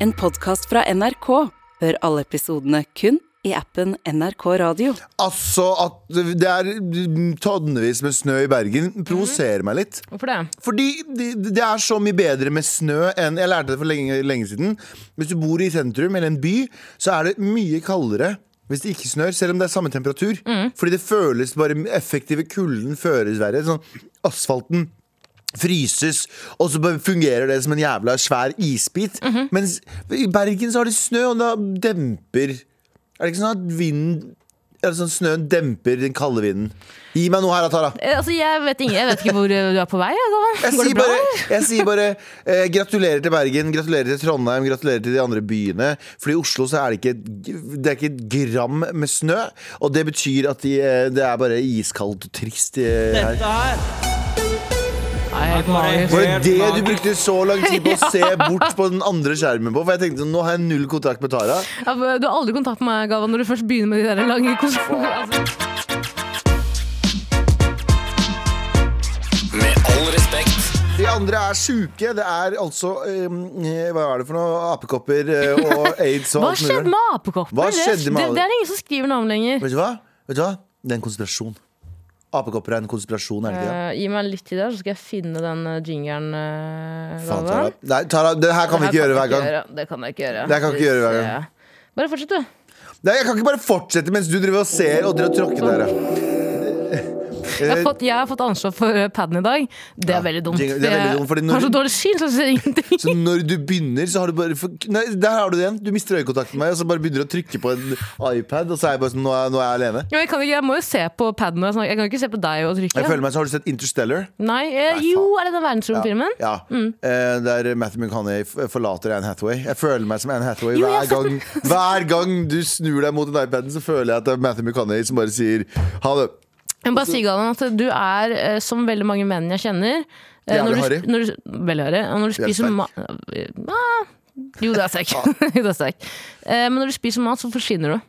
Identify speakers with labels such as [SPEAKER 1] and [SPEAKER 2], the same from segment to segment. [SPEAKER 1] En podkast fra NRK. Hør alle episodene kun i appen NRK Radio.
[SPEAKER 2] Altså at det er tonnevis med snø i Bergen provoserer meg litt.
[SPEAKER 3] Hvorfor det?
[SPEAKER 2] Fordi det, det er så mye bedre med snø enn Jeg lærte det for lenge, lenge siden. Hvis du bor i sentrum eller en by, så er det mye kaldere hvis det ikke snør, selv om det er samme temperatur. Fordi det føles bare effektive kulden føres verre. Sånn asfalten fryses, og så bare fungerer det som en jævla svær isbit. Mens i Bergen så har det snø, og da demper Er det ikke sånn at vinden eller sånn snøen demper den kalde vinden? Gi meg noe her, da, Tara.
[SPEAKER 3] Eh, Altså, jeg vet, ingen, jeg vet ikke hvor eh, du er på vei. Altså.
[SPEAKER 2] Jeg
[SPEAKER 3] Går
[SPEAKER 2] sier
[SPEAKER 3] det bra?
[SPEAKER 2] bare, jeg sier bare eh, gratulerer til Bergen, gratulerer til Trondheim, gratulerer til de andre byene. For i Oslo så er det ikke, et- det er ikke et gram med snø. Og det betyr at de, eh, det er bare iskaldt og trist eh, her.
[SPEAKER 3] Nei, helt magisk.
[SPEAKER 2] Var det det du brukte så lang tid på å se bort på den andre skjermen på? For jeg tenkte sånn, nå har jeg null kontakt med Tara.
[SPEAKER 3] Ja, men Du har aldri kontakt med meg, Galvan, når du først begynner med de der lange konsertene.
[SPEAKER 4] Med all respekt.
[SPEAKER 2] De andre er sjuke. Det er altså eh, Hva er det for noe? Apekopper eh, og aids og
[SPEAKER 3] Altså, Hva
[SPEAKER 2] alt
[SPEAKER 3] skjedde
[SPEAKER 2] mulig.
[SPEAKER 3] med apekopper?
[SPEAKER 2] Hva skjedde med
[SPEAKER 3] det,
[SPEAKER 2] alle-
[SPEAKER 3] det er det ingen som skriver noe om lenger.
[SPEAKER 2] Vet du hva? Vet du hva? Det er en konspirasjon. Apekopper er en konspirasjon, er det ikke det?
[SPEAKER 3] Eh, gi meg litt tid der, så skal jeg finne den uh, jingeren. eh,
[SPEAKER 2] Faen, Tara.
[SPEAKER 3] Galvan.
[SPEAKER 2] Nei, Tara, det her kan vi
[SPEAKER 3] Det
[SPEAKER 2] ikke
[SPEAKER 3] her
[SPEAKER 2] gjøre hver gang.
[SPEAKER 3] gjøre. Det kan jeg ikke gjøre.
[SPEAKER 2] Det kan jeg ikke gjøre hver
[SPEAKER 3] Hvis, eh, Bare fortsett, du.
[SPEAKER 2] Nei, jeg kan ikke bare fortsette mens du driver og ser og driver og tråkker der.
[SPEAKER 3] Jeg har
[SPEAKER 2] ja.
[SPEAKER 3] fått, jeg har fått anslag for eh, paden i dag. Det er veldig dumt.
[SPEAKER 2] det er veldig dumt, fordi
[SPEAKER 3] jeg
[SPEAKER 2] når
[SPEAKER 3] har så
[SPEAKER 2] du-
[SPEAKER 3] dårlig syn, så jeg ser ingenting.
[SPEAKER 2] Så når du begynner, så har du bare for... Nei, der har du det igjen. Du mister øyekontakten med meg, og så bare begynner du å trykke på en iPad, og så er jeg bare sånn Nå er, nå er jeg alene.
[SPEAKER 3] Ja, Jeg, kan ikke, jeg må jo se på paden når jeg snakker. Jeg kan ikke se på deg og trykke.
[SPEAKER 2] Jeg føler meg sånn, Har du sett Interstellar?
[SPEAKER 3] Nei, eh,
[SPEAKER 2] Nei,
[SPEAKER 3] jo, er det den verdensromfilmen?
[SPEAKER 2] Ja. Eh, der Matthew McConney f- forlater Anne Hathaway. Jeg føler meg som Anne Hathaway
[SPEAKER 3] Jo,
[SPEAKER 2] hver
[SPEAKER 3] jeg har
[SPEAKER 2] gang, hver gang du snur deg mot den iPaden, så føler jeg at det er Matthew McConney som bare sier ha det.
[SPEAKER 3] Jeg må bare si, Galen, at du er, eh, som veldig mange menn jeg kjenner eh,
[SPEAKER 2] Jævlig
[SPEAKER 3] når du,
[SPEAKER 2] harry.
[SPEAKER 3] sp- Når du, veldig harry. Og når du
[SPEAKER 2] Jævlig
[SPEAKER 3] spiser
[SPEAKER 2] sterk.
[SPEAKER 3] mat Eh, ah, Jo, det er sterk. Jo, det er sterk. Eh, Men når du spiser mat, så forsvinner du.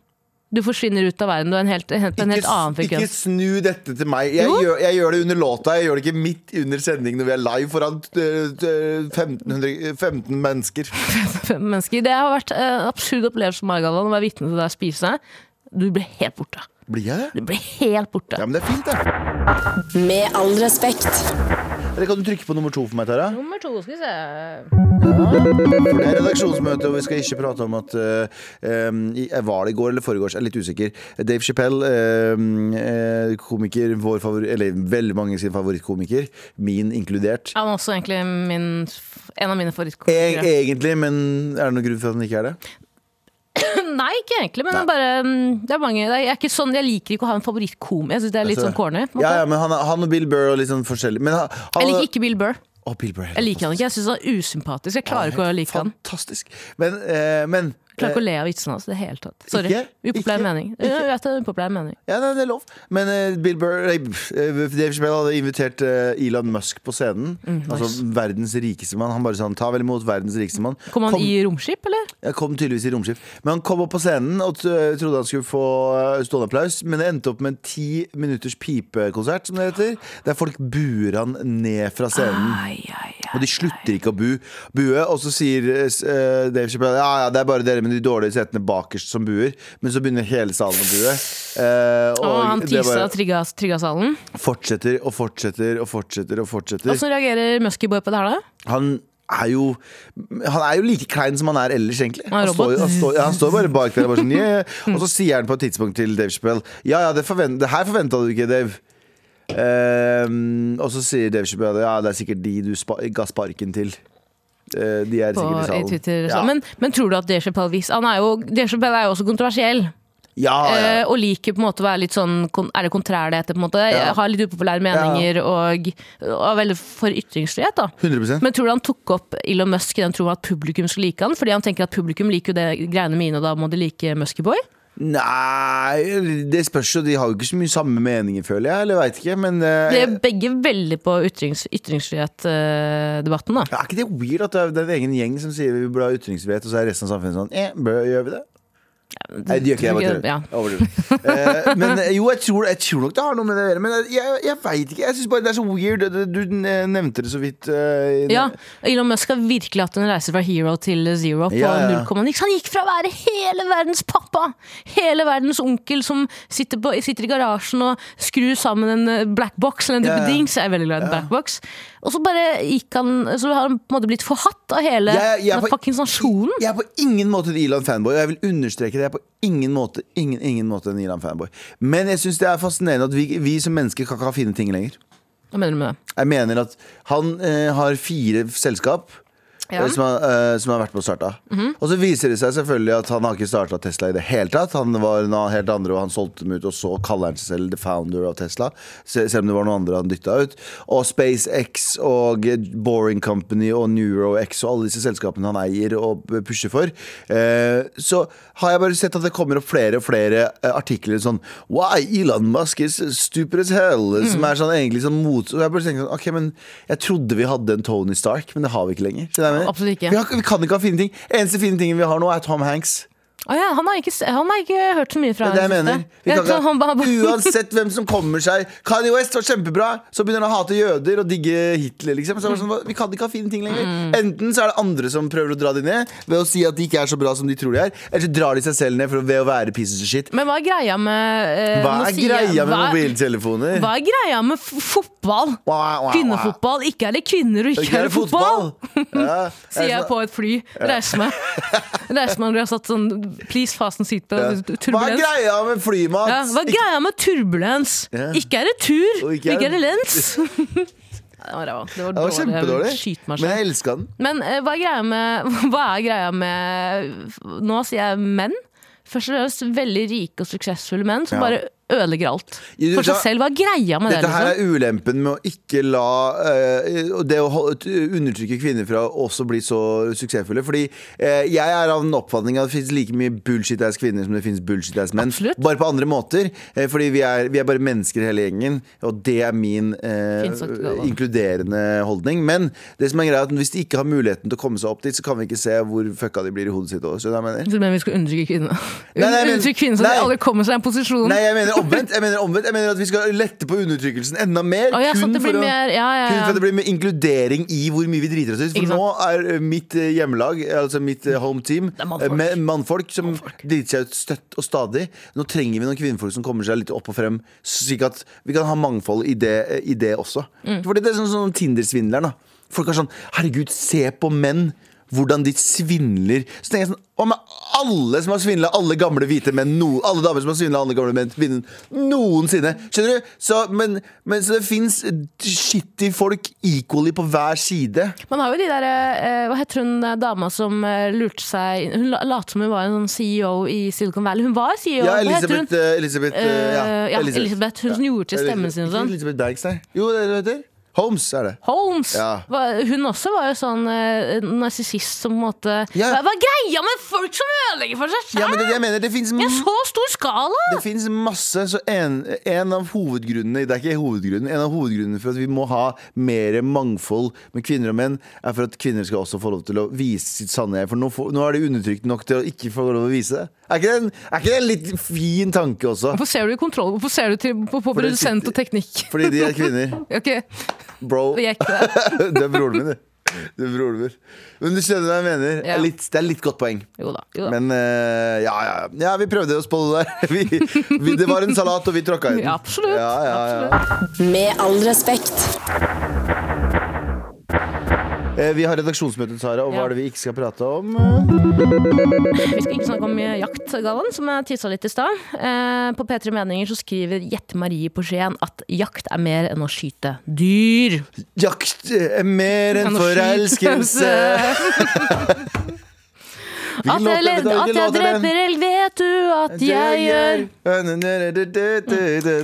[SPEAKER 3] Du forsvinner ut av verden. Du er en helt, helt, på en helt
[SPEAKER 2] Ikke s-
[SPEAKER 3] annen
[SPEAKER 2] ikke
[SPEAKER 3] frekvens.
[SPEAKER 2] snu dette til meg. Jeg
[SPEAKER 3] Jo.
[SPEAKER 2] gjør, jeg gjør det under låta, jeg gjør det ikke midt under sending når vi er live foran øh, øh, 1500, 15 mennesker.
[SPEAKER 3] Fem mennesker. Det har vært eh, en absurd opplevelse for meg, Galvan, å være vitne til deg spise. Du blir helt borte.
[SPEAKER 2] Blir jeg det?
[SPEAKER 3] Du blir helt borte.
[SPEAKER 2] Ja, men det er fint, det.
[SPEAKER 1] Med all respekt.
[SPEAKER 2] Eller kan du trykke på nummer to for meg, Tara?
[SPEAKER 3] Nummer to, skal vi se.
[SPEAKER 2] For det er redaksjonsmøte, og vi skal ikke prate om at øh, øhm, i- eh, Var det i går eller foregårs? Jeg er litt usikker. Dave Chappelle, øhm, øh, komiker, vår favori, eller veldig mange sin favorittkomiker, min inkludert.
[SPEAKER 3] Han er også egentlig min, en av mine
[SPEAKER 2] E-
[SPEAKER 3] favorittkomikere.
[SPEAKER 2] Egentlig, men er det noen grunn for at han ikke er det?
[SPEAKER 3] Nei, ikke egentlig, men
[SPEAKER 2] Nei.
[SPEAKER 3] bare mm, det er mange, det er, jeg, er ikke sånn, jeg liker ikke å ha en favorittkomiker. Jeg synes det er litt
[SPEAKER 2] Altså,
[SPEAKER 3] sånn corny. på en måte.
[SPEAKER 2] Ja, ja, men han, er- han og Bill Burr og litt sånn forskjellig. Men altså- han, han,
[SPEAKER 3] Jeg liker ikke Bill Burr.
[SPEAKER 2] Å, Bill Burr.
[SPEAKER 3] Jeg liker han ikke, jeg synes han er usympatisk. Jeg klarer ikke å like han.
[SPEAKER 2] Fantastisk. Men, eh, men
[SPEAKER 3] Jeg klarer ikke å le av vitsene hans i det hele tatt. Sorry.
[SPEAKER 2] Ikke?
[SPEAKER 3] Upopulær
[SPEAKER 2] Ikke?
[SPEAKER 3] mening.
[SPEAKER 2] Ikke?
[SPEAKER 3] Jeg vet det er en upopulær mening.
[SPEAKER 2] eh, ja, nei, det er lov. Men eh, Bill Burr nei, pff, eh, Dave Chappelle hadde invitert eh, Elon Musk på scenen.
[SPEAKER 3] Mm,
[SPEAKER 2] Altså verdens rikeste mann. Han bare sånn, ta vel imot verdens rikeste mann.
[SPEAKER 3] Kom han i romskip, eller?
[SPEAKER 2] Jeg kom tydeligvis i romskip. Men han kom opp på scenen og t- trodde han skulle få eh, stående applaus, men det endte opp med en ti minutters pipekonsert, som det heter. Der folk buer han ned fra scenen.
[SPEAKER 3] Ai, ai, ai.
[SPEAKER 2] Og de slutter ikke å bu, bue. Og så sier eh, s- eh, Dave Chappelle ja, ja, det er bare dere med de dårlige setene bakerst som buer. Men så begynner hele salen å bue. Eh, og
[SPEAKER 3] Og han
[SPEAKER 2] det
[SPEAKER 3] tisa
[SPEAKER 2] bare
[SPEAKER 3] og trigga, trigga salen.
[SPEAKER 2] fortsetter og fortsetter og fortsetter. og fortsetter
[SPEAKER 3] Åssen reagerer Muskyboy på det her, da?
[SPEAKER 2] Han er jo Han er jo like klein som han er ellers, egentlig.
[SPEAKER 3] Han er
[SPEAKER 2] står,
[SPEAKER 3] robot.
[SPEAKER 2] han, står, ja, han står bare bak der og bare sånn «Yeah». Og så sier han på et tidspunkt til Dave Chappelle Ja, ja, det, forvent, det her forventa du ikke, Dave. Ehm, og så sier Dave Chappelle Ja, det er sikkert de du spa ga sparken til. Eh, de er
[SPEAKER 3] På,
[SPEAKER 2] sikkert i
[SPEAKER 3] i
[SPEAKER 2] salen.
[SPEAKER 3] Twitter, sånn.
[SPEAKER 2] ja.
[SPEAKER 3] men, men tror du at Dave Chappelle vis- Han er jo, Dave Chappelle er jo også kontroversiell.
[SPEAKER 2] ja, Ah, ja,
[SPEAKER 3] Eh, og liker på en måte å være litt sånn kon- Er det kontrær det heter? på en måte
[SPEAKER 2] Ja.
[SPEAKER 3] Har litt upopulære meninger og, og er veldig for ytringsfrihet. da
[SPEAKER 2] 100
[SPEAKER 3] Men tror du han tok opp Elon Musk i den troen at publikum skulle like han? Fordi han tenker at publikum liker jo det greiene mine, og da må de like Muskyboy?
[SPEAKER 2] Nei, det spørs jo. De har jo ikke så mye samme meninger, føler jeg. Eller veit ikke, men eh,
[SPEAKER 3] De er begge veldig på ytrings, ytringsfrihet-debatten, da.
[SPEAKER 2] Er ikke det weird at det er det er en egen gjeng som sier vi burde ha ytringsfrihet, og så er resten av samfunnet sånn eh, bør, Gjør vi det? Nei, det gjør ikke jeg. bare tuller.
[SPEAKER 3] Ja.
[SPEAKER 2] Jeg overdriver. Eh, men eh, jo, jeg tror, jeg tror nok det har noe med det å gjøre. Men eh, jeg, jeg, jeg veit ikke. Jeg synes bare det er så weird. Du, du nevnte det så vidt. eh, i-
[SPEAKER 3] Ja, Elon Musk har virkelig hatt en reise fra hero til zero på
[SPEAKER 2] Ja, ja.
[SPEAKER 3] 0,9. Han gikk fra å være hele verdens pappa, hele verdens onkel som sitter, på, sitter i garasjen og skrur sammen en eh, black box eller en
[SPEAKER 2] Ja,
[SPEAKER 3] type
[SPEAKER 2] ja.
[SPEAKER 3] dings. Jeg er veldig glad i black box. Og så bare gikk han Så har han på en måte blitt forhatt av hele
[SPEAKER 2] Jeg- jeg er sånn
[SPEAKER 3] den
[SPEAKER 2] på-
[SPEAKER 3] fuckings nasjonen.
[SPEAKER 2] Jeg er på ingen måte en Ilan-fanboy, og jeg vil understreke det. Jeg er på ingen måte, ingen, ingen måte en Ilan-fanboy. Men jeg syns det er fascinerende at vi, vi som mennesker kan ikke ha fine ting lenger.
[SPEAKER 3] Hva mener du med det?
[SPEAKER 2] Jeg mener at han eh, har fire selskap
[SPEAKER 3] Ja.
[SPEAKER 2] eh, som, har, eh, som har vært på å starte. Og så viser det seg selvfølgelig at han har ikke starta Tesla i det hele tatt. Han var en annen- helt andre, og han solgte dem ut, og så kaller han seg selv the founder av Tesla. se- Selv om det var noen andre han dytta ut. Og SpaceX og eh, Boring Company og NeuroX og alle disse selskapene han eier og pusher for. Eh, så har jeg bare sett at det kommer opp flere og flere eh, artikler sånn Why Elon Musk is stupid as hell?
[SPEAKER 3] Mm.
[SPEAKER 2] Som er sånn egentlig sånn mot... Og jeg bare tenker sånn, ok, men jeg trodde vi hadde en Tony Stark, men det har vi ikke lenger. Skjønner du hva jeg mener?
[SPEAKER 3] Absolutt ikke.
[SPEAKER 2] Vi, har, vi kan ikke ha fine ting. Eneste fine tingen vi har nå, er Tom Hanks.
[SPEAKER 3] Å ja, han, har ikke, se- han har ikke hørt så mye fra
[SPEAKER 2] Det er det jeg
[SPEAKER 3] siste.
[SPEAKER 2] mener. Vi
[SPEAKER 3] Jeg
[SPEAKER 2] kan
[SPEAKER 3] tror han bare-
[SPEAKER 2] ikke, uansett hvem som kommer seg Kanye West var kjempebra, så begynner han å hate jøder og digge Hitler. Liksom. Så det var sånn, vi kan ikke ha fine ting lenger.
[SPEAKER 3] Mm.
[SPEAKER 2] Enten så er det andre som prøver å dra de ned ved å si at de ikke er så bra som de tror de er, eller så drar de seg selv ned for å, ved å være pieces of shit.
[SPEAKER 3] Men hva er greia med eh,
[SPEAKER 2] Hva
[SPEAKER 3] nå
[SPEAKER 2] er
[SPEAKER 3] sier
[SPEAKER 2] greia
[SPEAKER 3] jeg-
[SPEAKER 2] med
[SPEAKER 3] Mm. hva er-
[SPEAKER 2] mobiltelefoner?
[SPEAKER 3] Hva er greia med f fotball?
[SPEAKER 2] Wah, wah, wah.
[SPEAKER 3] Kvinnefotball. Ikke er det kvinner, og ikke,
[SPEAKER 2] Ikke
[SPEAKER 3] er det fotball!
[SPEAKER 2] Ja.
[SPEAKER 3] Sier jeg på et fly. Reis meg. Reis meg når jeg har satt sånn Please, fasten seatbelt.
[SPEAKER 2] Hva er
[SPEAKER 3] Turbulens.
[SPEAKER 2] greia med flymat?
[SPEAKER 3] Ja, hva er greia med turbulens?
[SPEAKER 2] Ja.
[SPEAKER 3] Ikke er det tur,
[SPEAKER 2] Og ikke
[SPEAKER 3] ikke
[SPEAKER 2] er
[SPEAKER 3] er det
[SPEAKER 2] det-
[SPEAKER 3] lens. Det var ræva. Det var
[SPEAKER 2] det var
[SPEAKER 3] dårlig. Jeg vil
[SPEAKER 2] kjempedårlig,
[SPEAKER 3] skyte meg
[SPEAKER 2] men
[SPEAKER 3] selv.
[SPEAKER 2] jeg elska den.
[SPEAKER 3] Men eh, hva er greia med Hva er greia med Nå sier jeg menn. Først og fremst veldig rike og suksessfulle menn som
[SPEAKER 2] Ja.
[SPEAKER 3] bare ødelegger alt.
[SPEAKER 2] Jo,
[SPEAKER 3] For
[SPEAKER 2] da-
[SPEAKER 3] seg selv. Hva er greia med det?
[SPEAKER 2] Dette her
[SPEAKER 3] Liksom?
[SPEAKER 2] er ulempen med å ikke la eh, Og det å hol- t- undertrykke kvinner fra å også bli så suksessfulle. Fordi eh, jeg er av den oppfatning at det fins like mye bullshit-ass kvinner som det fins bullshit-ass menn.
[SPEAKER 3] Absolutt.
[SPEAKER 2] Bare på andre måter. Eh, fordi vi er, vi er bare mennesker hele gjengen. Og det er min eh,
[SPEAKER 3] Fint sagt, Galvan.
[SPEAKER 2] inkluderende holdning. Men det som er greia er at hvis de ikke har muligheten til å komme seg opp dit, så kan vi ikke se hvor fucka de blir i hodet sitt. Også, skjønner du hva jeg mener?
[SPEAKER 3] Du mener vi skal undertrykke kvinner?
[SPEAKER 2] Nei, nei, men-
[SPEAKER 3] undertrykke kvinner så de
[SPEAKER 2] nei.
[SPEAKER 3] aldri kommer seg i en posisjon?
[SPEAKER 2] Nei, jeg mener omvendt. Jeg mener omvendt Jeg mener at vi skal lette på undertrykkelsen enda mer.
[SPEAKER 3] Å, ja, sånn at det
[SPEAKER 2] for
[SPEAKER 3] blir
[SPEAKER 2] å-
[SPEAKER 3] mer- ja, ja, ja.
[SPEAKER 2] kun for at det blir mer inkludering i hvor mye vi driter oss ut.
[SPEAKER 3] Ikke
[SPEAKER 2] For
[SPEAKER 3] sant.
[SPEAKER 2] nå er eh, mitt eh, hjemmelag, eh, altså mitt eh, home team,
[SPEAKER 3] er mannfolk.
[SPEAKER 2] eh, med- mannfolk som driter seg ut støtt og stadig. Nå trenger vi noen kvinnfolk som kommer seg litt opp og frem, slik at vi kan ha mangfold i det, i det også.
[SPEAKER 3] Mm.
[SPEAKER 2] Fordi det er sånn, sånn Tinder-svindleren. da Folk er sånn Herregud, se på menn! Hvordan de svindler. Så tenker jeg sånn Hva med alle som har svindla alle gamle hvite menn? No, alle damer som har svindla alle gamle menn kvinnen, noensinne. Skjønner du? Så, men, men, så det fins shitty folk equally på hver side.
[SPEAKER 3] Man har jo de der eh, Hva heter hun eh, dama som eh, lurte seg Hun la- lot som hun var en sånn CEO i Silicon Valley. Hun var CEO!
[SPEAKER 2] Ja,
[SPEAKER 3] hva heter hun?
[SPEAKER 2] Elisabeth, eh, Elisabeth eh, ja,
[SPEAKER 3] Eh, ja, Elisabeth, hun som gjorde til stemmen sin og
[SPEAKER 2] Ikke
[SPEAKER 3] sånn.
[SPEAKER 2] Elisabeth Banks, nei. Jo, det er det hun heter. Holmes er det.
[SPEAKER 3] Holmes!
[SPEAKER 2] Ja.
[SPEAKER 3] Hva- Hun også var jo sånn eh, narsissist som på en måte
[SPEAKER 2] Ja.
[SPEAKER 3] hva, hva er greia med folk som ødelegger for seg
[SPEAKER 2] Ja,
[SPEAKER 3] selv?
[SPEAKER 2] men det er det jeg mener. Det fins
[SPEAKER 3] I en så stor skala!
[SPEAKER 2] Det finnes masse, så en, en av hovedgrunnene Det er ikke hovedgrunnen En av hovedgrunnene for at vi må ha mer mangfold med kvinner og menn, er for at kvinner skal også få lov til å vise sitt sanne jeg. For nå, får, nå er de undertrykt nok til å ikke få lov til å vise det. Er ikke det en, er ikke det en litt fin tanke også?
[SPEAKER 3] Hvorfor ser du i kontroll? Hvorfor ser du til, på, på
[SPEAKER 2] Fordi det
[SPEAKER 3] produsent
[SPEAKER 2] sitter-
[SPEAKER 3] og teknikk?
[SPEAKER 2] Fordi de er kvinner.
[SPEAKER 3] Ok,
[SPEAKER 2] Bro.
[SPEAKER 3] vi er ikke det.
[SPEAKER 2] Det er broren min, du. Det er broren min. Men du skjønner hva jeg mener.
[SPEAKER 3] Ja.
[SPEAKER 2] Litt, det er litt godt poeng.
[SPEAKER 3] Jo da. Jo da.
[SPEAKER 2] Men eh, ja, ja, ja, vi prøvde oss på det der. Vi, vi, det var en salat, og vi tråkka i den.
[SPEAKER 3] Ja, absolutt.
[SPEAKER 2] Ja, ja, ja.
[SPEAKER 1] Med all respekt.
[SPEAKER 2] Eh, Vi har redaksjonsmøte, Sara, og hva
[SPEAKER 3] Ja.
[SPEAKER 2] er det vi ikke skal prate om? Eh,
[SPEAKER 3] Vi skal ikke snakke om eh, jakt, Galvan, som jeg tissa litt i stad. Eh, på P3 Meninger så skriver Jette Marie på Skien at jakt er mer enn å skyte dyr.
[SPEAKER 2] Jakt er mer enn
[SPEAKER 3] Enn å
[SPEAKER 2] forelskelse.
[SPEAKER 3] At jeg, led, at jeg dreper elg, vet du at jeg gjør. Mm.
[SPEAKER 2] gjør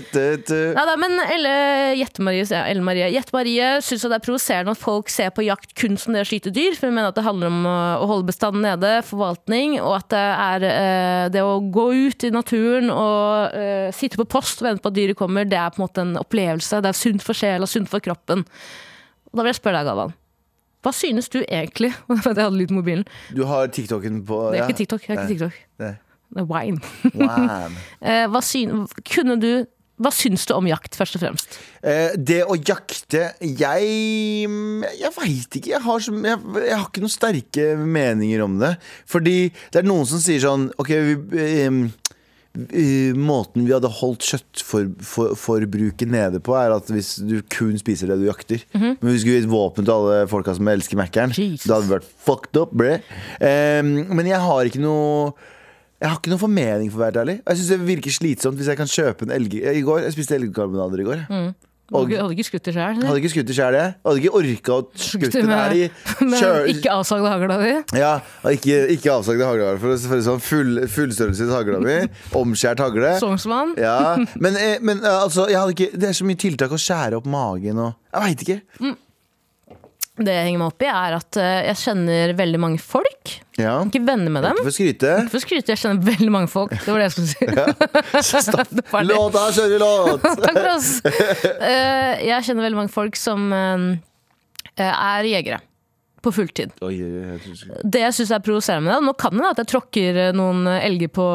[SPEAKER 3] Neida, men Elle Jette Marie, sier jeg. Elle Marie. Jette Marie syns det er provoserende at folk ser på jakt kun som det å skyte dyr. For hun mener at det handler om å å holde bestanden nede, forvaltning, og at det er eh, det å gå ut i naturen og eh, sitte på post og vente på at dyret kommer, det er på en måte en opplevelse. Det er sunt for sjela, sunt for kroppen. Og da vil jeg spørre deg, Galvan. Hva synes du egentlig Jeg hadde lyd på mobilen.
[SPEAKER 2] Du har TikToken på
[SPEAKER 3] Det er
[SPEAKER 2] ja.
[SPEAKER 3] ikke TikTok. Det er ikke TikTok.
[SPEAKER 2] Nei.
[SPEAKER 3] Wine.
[SPEAKER 2] Wow.
[SPEAKER 3] Eh, hva, syn, kunne du, hva syns du om jakt, først og fremst?
[SPEAKER 2] Eh, det å jakte Jeg Jeg veit ikke. Jeg har, så, jeg, jeg har ikke noen sterke meninger om det. Fordi det er noen som sier sånn OK, vi, em, eh, måten vi hadde holdt kjøttforbruket for, forbruket nede på, er at hvis du kun spiser det du jakter Men hvis du skulle gitt våpen til alle folka som elsker Mækkern,
[SPEAKER 3] Jesus.
[SPEAKER 2] da hadde vi vært fucked up, bre. Em, men jeg har ikke noe jeg har ikke noen formening for å være ærlig. Og Jeg synes det virker slitsomt hvis jeg kan kjøpe en elg... I går, Jeg spiste elgkarbonader i går. jeg. Og-
[SPEAKER 3] Hadde ikke skutt deg sjøl?
[SPEAKER 2] hadde ikke skutt det sjæl, jeg. Hadde ikke orka å skutte den her i kjø-
[SPEAKER 3] Ikke avsagd hagla di?
[SPEAKER 2] ja, og ikke, ikke avsagde hagla, for å si det sånn. Full, fullstørrelses hagla mi. Omskjært hagle.
[SPEAKER 3] Sognsvann?
[SPEAKER 2] Ja, men, eh, men eh, altså, jeg hadde ikke, det er så mye tiltak å skjære opp magen og Jeg veit ikke.
[SPEAKER 3] Det jeg henger meg opp i, er at eh, jeg kjenner veldig mange folk.
[SPEAKER 2] Ja,
[SPEAKER 3] Ikke venner med dem.
[SPEAKER 2] Ikke for å skryte.
[SPEAKER 3] For å skryte, jeg kjenner veldig mange folk. Det var det jeg skulle si. Det var det.
[SPEAKER 2] Låta kjører låt!
[SPEAKER 3] Takk for oss. Eh, jeg kjenner veldig mange folk som eh, er jegere. På fulltid.
[SPEAKER 2] Oi, jeg tror ikke-
[SPEAKER 3] Det jeg syns er provoserende med det, nå kan det være at jeg tråkker eh, noen elger på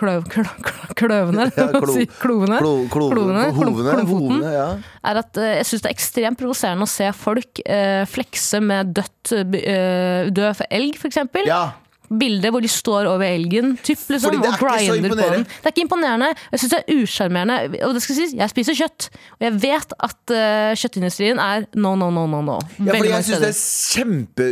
[SPEAKER 3] kløv, kløv, kløv, kløvene,
[SPEAKER 2] Ja, klo-
[SPEAKER 3] si, klovene,
[SPEAKER 2] Klo, klo,
[SPEAKER 3] Klovene, klo-
[SPEAKER 2] hovene,
[SPEAKER 3] klovefoten.
[SPEAKER 2] hovene, ja.
[SPEAKER 3] er at eh, jeg syns det er ekstremt provoserende å se folk eh, flekse med dødt eh, by- eh, død for elg, f.eks. eksempel
[SPEAKER 2] ja.
[SPEAKER 3] Bilder hvor de står over elgen typ, liksom,
[SPEAKER 2] Fordi det er
[SPEAKER 3] og
[SPEAKER 2] ikke så
[SPEAKER 3] grinder på
[SPEAKER 2] imponerende.
[SPEAKER 3] den. Det er ikke imponerende. Jeg syns det er usjarmerende. Og det skal sies, jeg spiser kjøtt. Og jeg vet at eh, kjøttindustrien er no, no, no, no, no.
[SPEAKER 2] Ja,
[SPEAKER 3] Veldig
[SPEAKER 2] fordi jeg
[SPEAKER 3] mange
[SPEAKER 2] syns det er
[SPEAKER 3] steder.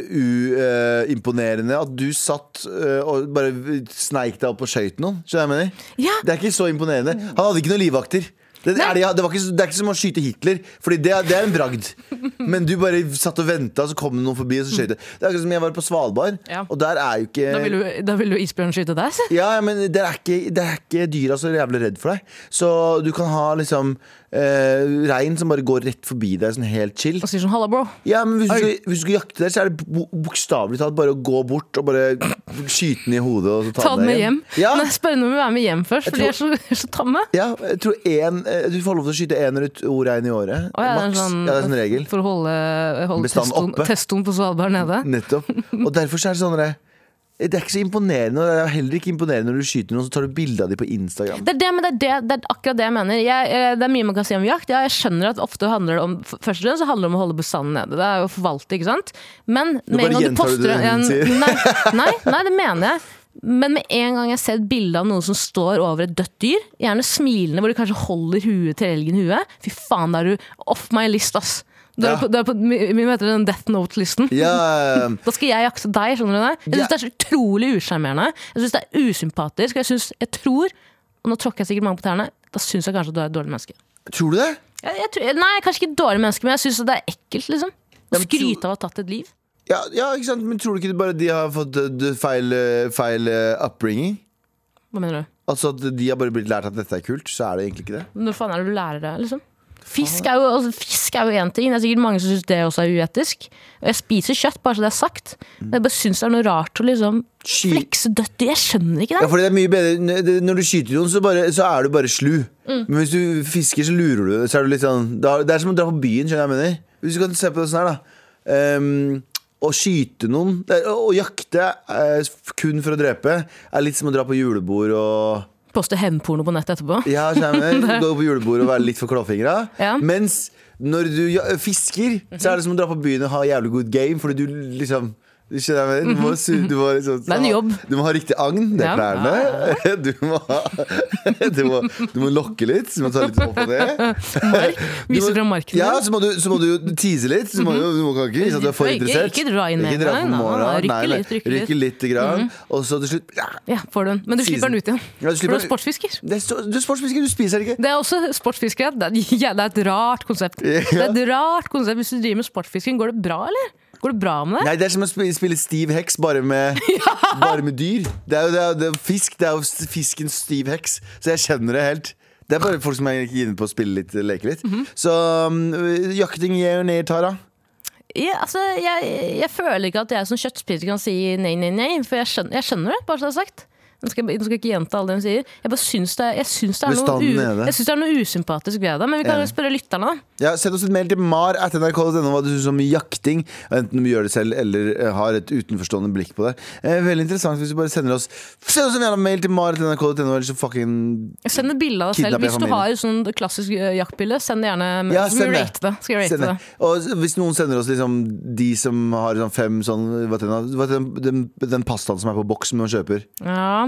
[SPEAKER 2] kjempeimponerende at du satt eh, og bare sneik deg opp og skøyt noen. Skjønner du hva jeg mener?
[SPEAKER 3] Ja.
[SPEAKER 2] Det er ikke så imponerende. Han hadde ikke noen livvakter. Det,
[SPEAKER 3] Nei.
[SPEAKER 2] er, det, det, var ikke, så- det er ikke som å skyte Hitler, Fordi det, er- det er en bragd. Men du bare satt og venta, så kom det noen forbi, og så skøyt det. Det er akkurat som jeg var på Svalbard,
[SPEAKER 3] Ja.
[SPEAKER 2] og der er jo ikke
[SPEAKER 3] Da vil jo- Da vil jo isbjørn skyte deg, se.
[SPEAKER 2] ja, ja, men det er ikke, det er ikke dyra så jævlig redd for deg. Så du kan ha liksom eh, rein som bare går rett forbi deg, sånn helt chill.
[SPEAKER 3] Og sier sånn 'halla, bro'.
[SPEAKER 2] Ja, men hvis du, skal- hvis du skal jakte der, så er det bo- bokstavelig talt bare å gå bort og bare skyte den i hodet og så ta,
[SPEAKER 3] Ta den med hjem.
[SPEAKER 2] Ja,
[SPEAKER 3] Men jeg spør om du vil være med hjem først, for de er så, er så tamme.
[SPEAKER 2] ja, jeg tror en, eh, du får lov til å skyte én eller to rein i året.
[SPEAKER 3] Å, ja, det er
[SPEAKER 2] Maks.
[SPEAKER 3] sånn-
[SPEAKER 2] ja, det er sånn regel.
[SPEAKER 3] For å holde, holde
[SPEAKER 2] Bestanden
[SPEAKER 3] testoen,
[SPEAKER 2] oppe.
[SPEAKER 3] testoen på Svalbard nede.
[SPEAKER 2] Nettopp. Og derfor så er det sånn der, det er ikke så imponerende. Og det er heller ikke imponerende når du skyter noen, så tar du bilde av dem på Instagram.
[SPEAKER 3] Det er, det, men det, er det, det er akkurat det jeg mener. Jeg, eh, det er mye man kan si om jakt. Ja, jeg skjønner at ofte handler det om f- Først og fremst så handler det om å holde bestanden nede. Det er jo å forvalte, ikke sant? Men med
[SPEAKER 2] bare
[SPEAKER 3] en gang du
[SPEAKER 2] gjentar du
[SPEAKER 3] poster
[SPEAKER 2] det hun
[SPEAKER 3] en,
[SPEAKER 2] sier.
[SPEAKER 3] nei, nei, nei, det mener jeg. Men med en gang jeg ser et bilde av noen som står over et dødt dyr, gjerne smilende, hvor de kanskje holder huet til elgen i huet Fy faen, da er du off my list, ass. Du er
[SPEAKER 2] Ja.
[SPEAKER 3] på, du er på vi vi heter den Death Note-listen.
[SPEAKER 2] Ja, eh,
[SPEAKER 3] Da skal jeg jakte deg, skjønner du det? Jeg
[SPEAKER 2] Ja.
[SPEAKER 3] synes det er så utrolig usjarmerende. Jeg synes det er usympatisk. Og jeg synes, jeg tror, og nå tråkker jeg sikkert mange på tærne, da synes jeg kanskje at du er et dårlig menneske.
[SPEAKER 2] tror du det?
[SPEAKER 3] Jeg, jeg tror, nei, kanskje ikke et dårlig menneske, men jeg synes at det er ekkelt, liksom.
[SPEAKER 2] Ja,
[SPEAKER 3] Å
[SPEAKER 2] men
[SPEAKER 3] skryte av å ha tatt et liv.
[SPEAKER 2] Ja, ja, ikke sant? Men tror du ikke det bare de har fått eh, d- feil, eh, feil eh, upbringing?
[SPEAKER 3] Hva mener du?
[SPEAKER 2] Altså at de har bare blitt lært at dette er kult, så er det egentlig ikke det.
[SPEAKER 3] Når faen er det du lærer det, liksom? Fisk er jo altså, fisk er jo én ting. Det er sikkert mange som syns det også er uetisk. Og jeg spiser kjøtt, bare så det er sagt. Men jeg bare syns det er noe rart å liksom
[SPEAKER 2] Sky-
[SPEAKER 3] flekse dødt dyr. Jeg skjønner ikke
[SPEAKER 2] Ja,
[SPEAKER 3] det.
[SPEAKER 2] fordi det er mye bedre n- det- Når du skyter noen, så, bare, så er du bare slu. Men hvis du fisker, så lurer du. Så er du litt sånn, da, det er som å dra på byen, skjønner du hva jeg mener. Hvis du kan se på det sånn her, da. Ehm, å skyte noen det er- Å å jakte eh, kun for å drepe er litt som å dra på julebord og
[SPEAKER 3] Poste hevnporno på nettet etterpå.
[SPEAKER 2] Ja, skjønner du hva jeg mener? Gå på julebord og være litt for klåfingra.
[SPEAKER 3] Ja.
[SPEAKER 2] Mens når du ja- fisker, så er det som å dra på byen og ha jævlig good game, fordi du liksom du skjønner hva jeg mener? Du må, su- du må liksom,
[SPEAKER 3] Mhm. Det er en jobb.
[SPEAKER 2] Du må ha riktig agn, det
[SPEAKER 3] Ja.
[SPEAKER 2] klarer det. Du må, ha- du, må, du må lokke litt, så du må ta litt opp og ned. Du
[SPEAKER 3] Vise
[SPEAKER 2] må-
[SPEAKER 3] fram Mhm. marken.
[SPEAKER 2] Ja, så må du, så må du tease litt. Så må du, du må kan ikke vise at du er for
[SPEAKER 3] Ikke-
[SPEAKER 2] interessert.
[SPEAKER 3] ikke dra inn med
[SPEAKER 2] Ikke dra på
[SPEAKER 3] en gang, nei, nei,
[SPEAKER 2] morgenen.
[SPEAKER 3] nei,
[SPEAKER 2] Nei, nei.
[SPEAKER 3] rykke litt, rykke litt. Mhm.
[SPEAKER 2] Rykke litt. Grann, og så til slutt ja,
[SPEAKER 3] Ja, får du den. Men du slipper
[SPEAKER 2] Season.
[SPEAKER 3] den ut igjen.
[SPEAKER 2] Ja, du
[SPEAKER 3] For du
[SPEAKER 2] slipper
[SPEAKER 3] er
[SPEAKER 2] den.
[SPEAKER 3] sportsfisker.
[SPEAKER 2] det er så- Du er sportsfisker, du spiser ikke.
[SPEAKER 3] Det er også sportsfiskere. Det er, ja, det er et rart konsept. Det er et rart konsept Hvis du driver med sportsfisking, går det bra, eller? Går det bra med det?
[SPEAKER 2] Nei, det er som å sp- spille stiv heks bare med, bare med dyr. Det er jo det er, det er fisk. Det er jo s- fiskens stiv heks. Så jeg kjenner det helt. Det er bare folk som er inne på å spille litt, leke litt. Så um, jakting gir og ned, Tara.
[SPEAKER 3] Ja, altså, jeg, jeg føler ikke at jeg som kjøttspiser kan si nei, nei, nei, for jeg skjønner, jeg skjønner det, bare så det er sagt. Nå skal, jeg- nå skal jeg ikke gjenta alle det hun sier. Jeg bare syns det, jeg syns det, er, noe
[SPEAKER 2] Bestanden
[SPEAKER 3] u,
[SPEAKER 2] nede.
[SPEAKER 3] jeg syns det er noe usympatisk ved det. Men vi kan jo
[SPEAKER 2] Enig.
[SPEAKER 3] spørre lytterne, da.
[SPEAKER 2] Ja, Send oss et mail til mar at nrk.no hva du syns om jakting. Enten du gjør det selv eller eh, har et utenforstående blikk på det. Eh, veldig interessant hvis du bare sender oss Send oss en jævla mail til mar at nrk.no, eller så fucking
[SPEAKER 3] Send et bilde av deg selv.
[SPEAKER 2] Kidnapp en
[SPEAKER 3] Hvis du
[SPEAKER 2] familie.
[SPEAKER 3] har et sånn klassisk eh, jaktbilde, send det gjerne. med-
[SPEAKER 2] Ja,
[SPEAKER 3] så skal
[SPEAKER 2] send
[SPEAKER 3] vi
[SPEAKER 2] det.
[SPEAKER 3] rate det. Skal vi rate
[SPEAKER 2] send det.
[SPEAKER 3] det.
[SPEAKER 2] Og s- hvis noen sender oss liksom de som har sånn fem sånn Hva heter den, hva heter den, den, den pastaen som er på boks som man kjøper?
[SPEAKER 3] Ja.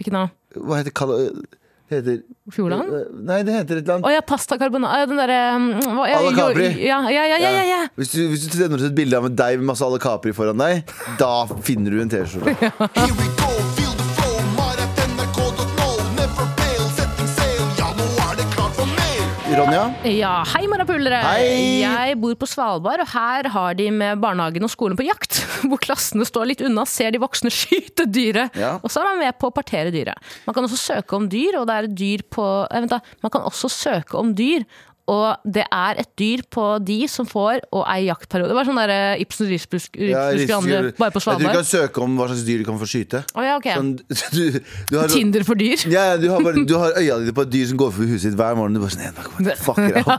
[SPEAKER 3] Hvilken da?
[SPEAKER 2] Hva heter kal... Det heter
[SPEAKER 3] Fjordland?
[SPEAKER 2] Eh, Nei, det heter et eller annet.
[SPEAKER 3] Å ja, pasta carbonara. Den derre mm, hva- ja,
[SPEAKER 2] Alla
[SPEAKER 3] jo-
[SPEAKER 2] Capri.
[SPEAKER 3] Ja, ja, ja. ja, ja, ja.
[SPEAKER 2] Hvis, du, hvis du sender oss et bilde av deg med masse alle capri foran deg, da finner du en T-skjorte.
[SPEAKER 5] Here we go, feel the flow, mar at nrk.no. Never fail, setting sail, ja nå er det klart for mer.
[SPEAKER 2] Ronja?
[SPEAKER 3] Ja, hei marapulere!
[SPEAKER 2] Hei!
[SPEAKER 3] Jeg bor på Svalbard, og her har de med barnehagen og skolen på jakt. Hvor klassene står litt unna, ser de voksne skyte dyret.
[SPEAKER 2] Ja.
[SPEAKER 3] Og så er man med på å partere dyret. Man kan også søke om dyr, og det er et dyr på eh, Vent, da. Man kan også søke om dyr. Og det er et dyr på de som får og ei jaktperiode. Det var sånn der eh, Ibsen Rysbusk
[SPEAKER 2] jeg
[SPEAKER 3] Rysbusk-
[SPEAKER 2] husker-
[SPEAKER 3] bare
[SPEAKER 2] Jeg tror
[SPEAKER 3] på
[SPEAKER 2] du
[SPEAKER 3] Svalbard.
[SPEAKER 2] kan søke om hva slags dyr du kan få skyte.
[SPEAKER 3] Å ja, ok.
[SPEAKER 2] Sånn, du, du har,
[SPEAKER 3] Tinder for dyr.
[SPEAKER 2] ja, ja, du, har bare, du har øya dine på et dyr som går forbi huset ditt hver morgen. Du bare sånn, "Nei, nå kommer jeg til å fucke deg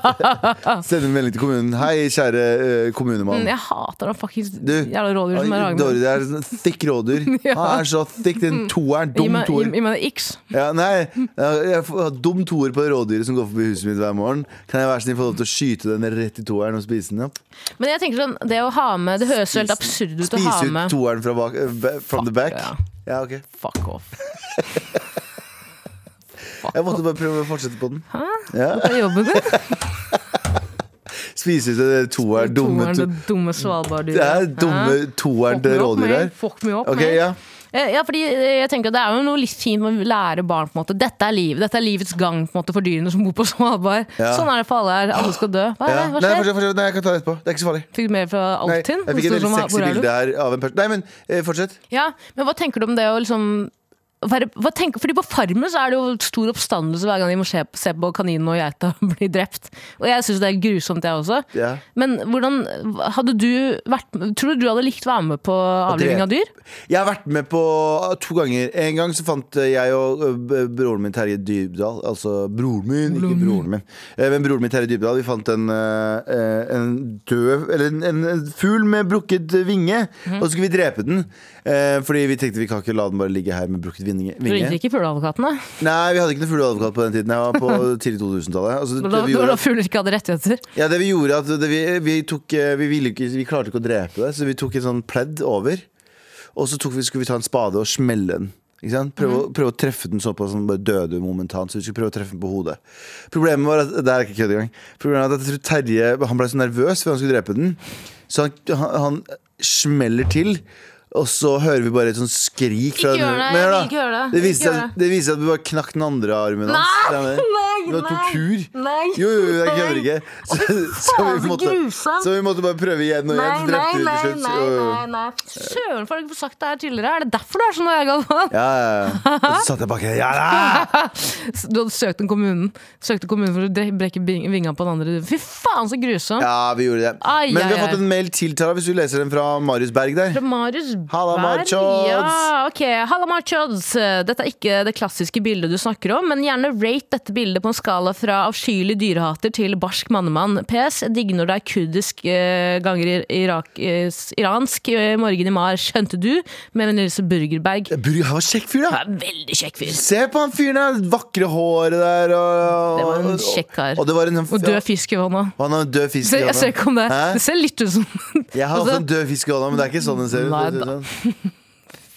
[SPEAKER 2] opp." Sender en melding til kommunen. Hei, kjære eh, kommunemann.
[SPEAKER 3] Jeg hater de fuckings
[SPEAKER 2] Du,
[SPEAKER 3] jævla rådyr som er
[SPEAKER 2] Ai,
[SPEAKER 3] ragen
[SPEAKER 2] Dårlig,
[SPEAKER 3] min.
[SPEAKER 2] det er sånn thick rådyr. Han er så thick. Den toeren.
[SPEAKER 3] Mm. Gi
[SPEAKER 2] Dum
[SPEAKER 3] meg-
[SPEAKER 2] toer.
[SPEAKER 3] gi- Gi meg det x.
[SPEAKER 2] Ja, nei, ja, jeg får ha dum toer på rådyret som går forbi huset mitt hver morgen. Kan jeg være snill få lov til å skyte den rett i toeren og spise den opp?
[SPEAKER 3] Men jeg tenker sånn, det å ha med Det høres jo helt absurd ut å ha
[SPEAKER 2] Spise ut
[SPEAKER 3] med
[SPEAKER 2] toeren fra bak, eh, ba- from the back?
[SPEAKER 3] ja.
[SPEAKER 2] Ja, ok
[SPEAKER 3] Fuck off.
[SPEAKER 2] Jeg måtte bare prøve å fortsette på den. Ja.
[SPEAKER 3] Hva er jobben din?
[SPEAKER 2] Spise ut det toeren, dumme
[SPEAKER 3] Toeren,
[SPEAKER 2] to
[SPEAKER 3] det dumme svalbarddyret.
[SPEAKER 2] Det er dumme toeren til rådyr her.
[SPEAKER 3] Fuck meg opp.
[SPEAKER 2] Ok,
[SPEAKER 3] meg.
[SPEAKER 2] ja.
[SPEAKER 3] Eh, ja, fordi eh, jeg tenker at Det er jo noe litt fint med å lære barn på en måte Dette er livet, dette er livets gang på en måte for dyrene som bor på Svalbard.
[SPEAKER 2] Ja.
[SPEAKER 3] Sånn er det for alle her. Alle skal dø. Hva, er
[SPEAKER 2] ja. Nei,
[SPEAKER 3] det? Hva skjer?
[SPEAKER 2] fortsett, fortsett. Nei, jeg kan ta det etterpå. Det er ikke så farlig.
[SPEAKER 3] Fikk du mer fra
[SPEAKER 2] Nei,
[SPEAKER 3] Altinn?
[SPEAKER 2] jeg fikk et
[SPEAKER 3] Hvor
[SPEAKER 2] veldig
[SPEAKER 3] stor-
[SPEAKER 2] sexy
[SPEAKER 3] hvor er du?
[SPEAKER 2] bilde her av en person. Nei, men eh, fortsett.
[SPEAKER 3] Ja, men hva tenker du om det å liksom være, hva tenker, fordi På Farmen så er det jo stor oppstandelse hver gang de må se, se på kaninen og geita bli drept. Og jeg syns det er grusomt, jeg også.
[SPEAKER 2] Ja.
[SPEAKER 3] Men hvordan hadde du vært Tror du du hadde likt å være med på avliving av dyr?
[SPEAKER 2] Jeg har vært med på to ganger. En gang så fant jeg og ø, b- broren min Terje Dybdahl Altså broren min, ikke broren min. Eh, Men broren min Terje Dybdahl, vi fant en, ø, ø, en død Eller en, en, en fugl med brukket vinge.
[SPEAKER 3] Mhm.
[SPEAKER 2] Og så skulle vi drepe den. eh, Fordi vi tenkte vi kan ikke la den bare ligge her med brukket vinge.
[SPEAKER 3] Du
[SPEAKER 2] vinge.
[SPEAKER 3] ringte ikke fugleadvokatene?
[SPEAKER 2] Nei, vi hadde ikke noen fugleadvokat på den tiden. Jeg var på tidlig 2000-tallet. Altså,
[SPEAKER 3] Det var Da,
[SPEAKER 2] vi
[SPEAKER 3] det
[SPEAKER 2] gjorde
[SPEAKER 3] var
[SPEAKER 2] at-
[SPEAKER 3] da fugler ikke hadde rettigheter?
[SPEAKER 2] ja, det vi gjorde at det, vi, vi, tok, eh, vi, ville ikke, vi klarte ikke å drepe det Så vi tok en sånn pledd over Og så tok vi, skulle vi ta en spade og smelle den ikke sant? Prøve,
[SPEAKER 3] Mhm.
[SPEAKER 2] å- prøve å treffe den såpass Som bare døde momentant Så vi skulle prøve å treffe den på hodet Problemet var at, det her er ikke kødd engang Problemet var at jeg tror Terje, han ble så nervøs Før han skulle drepe den Så han, han, han smeller til og så hører vi bare et sånn skrik fra
[SPEAKER 3] Ikke gjør det,
[SPEAKER 2] Men
[SPEAKER 3] jeg
[SPEAKER 2] da,
[SPEAKER 3] vil ikke gjøre det.
[SPEAKER 2] Det
[SPEAKER 3] Ikke
[SPEAKER 2] viser seg
[SPEAKER 3] gjør det.
[SPEAKER 2] det viser seg at vi bare knakk den andre armen hans Det er det. Det var tortur
[SPEAKER 3] Nei!
[SPEAKER 2] jo, jo, jo, jeg kødder ikke. Så, så, vi måtte,
[SPEAKER 3] grusomt.
[SPEAKER 2] så vi måtte bare prøve igjen og igjen. så drepte vi til slutt. Jo, jo.
[SPEAKER 3] Søren, for har du ikke fått sagt det her tidligere? Er det derfor du er sånn? Galvan?
[SPEAKER 2] Ja, ja, ja. Og så satt jeg bak her. Ja, da!
[SPEAKER 3] Du hadde søkt en kommunen Søkte kommunen for å dre- brekke bing- vinga på den andre. Fy faen, så grusomt!
[SPEAKER 2] ja, vi gjorde det.
[SPEAKER 3] Ai,
[SPEAKER 2] Men vi
[SPEAKER 3] ai,
[SPEAKER 2] har fått
[SPEAKER 3] ai.
[SPEAKER 2] en mail til, Tara, hvis du leser den fra Marius Berg der.
[SPEAKER 3] Fra Marius Berg.
[SPEAKER 2] Halla, Marchods.
[SPEAKER 3] Ja, ok. Halla, Marchods. Dette er ikke det klassiske bildet du snakker om, men gjerne rate dette bildet på en skala fra avskyelig dyrehater til barsk mannemann. PS. Jeg Digger når det er kurdisk eh, ganger i- Irak, eh, s- iransk eh, morgen i mar. Skjønte du? Med Nils Burgerberg.
[SPEAKER 2] Bur- Han var kjekk fyr, da.
[SPEAKER 3] Ja, Veldig kjekk fyr.
[SPEAKER 2] Se på han fyren der. Vakre håret der. Og,
[SPEAKER 3] Det var en
[SPEAKER 2] og-
[SPEAKER 3] kjekk kar.
[SPEAKER 2] Og det var en,
[SPEAKER 3] Og død fisk i hånda.
[SPEAKER 2] Og han har en død fisk
[SPEAKER 3] Se,
[SPEAKER 2] i
[SPEAKER 3] jeg ser
[SPEAKER 2] hånda.
[SPEAKER 3] ikke om det.
[SPEAKER 2] Hæ?
[SPEAKER 3] Det ser litt ut som
[SPEAKER 2] Jeg har
[SPEAKER 3] Altså,
[SPEAKER 2] også en død fisk i hånda, men det er ikke sånn den ser ut.
[SPEAKER 3] Nei
[SPEAKER 2] for å si det
[SPEAKER 3] da.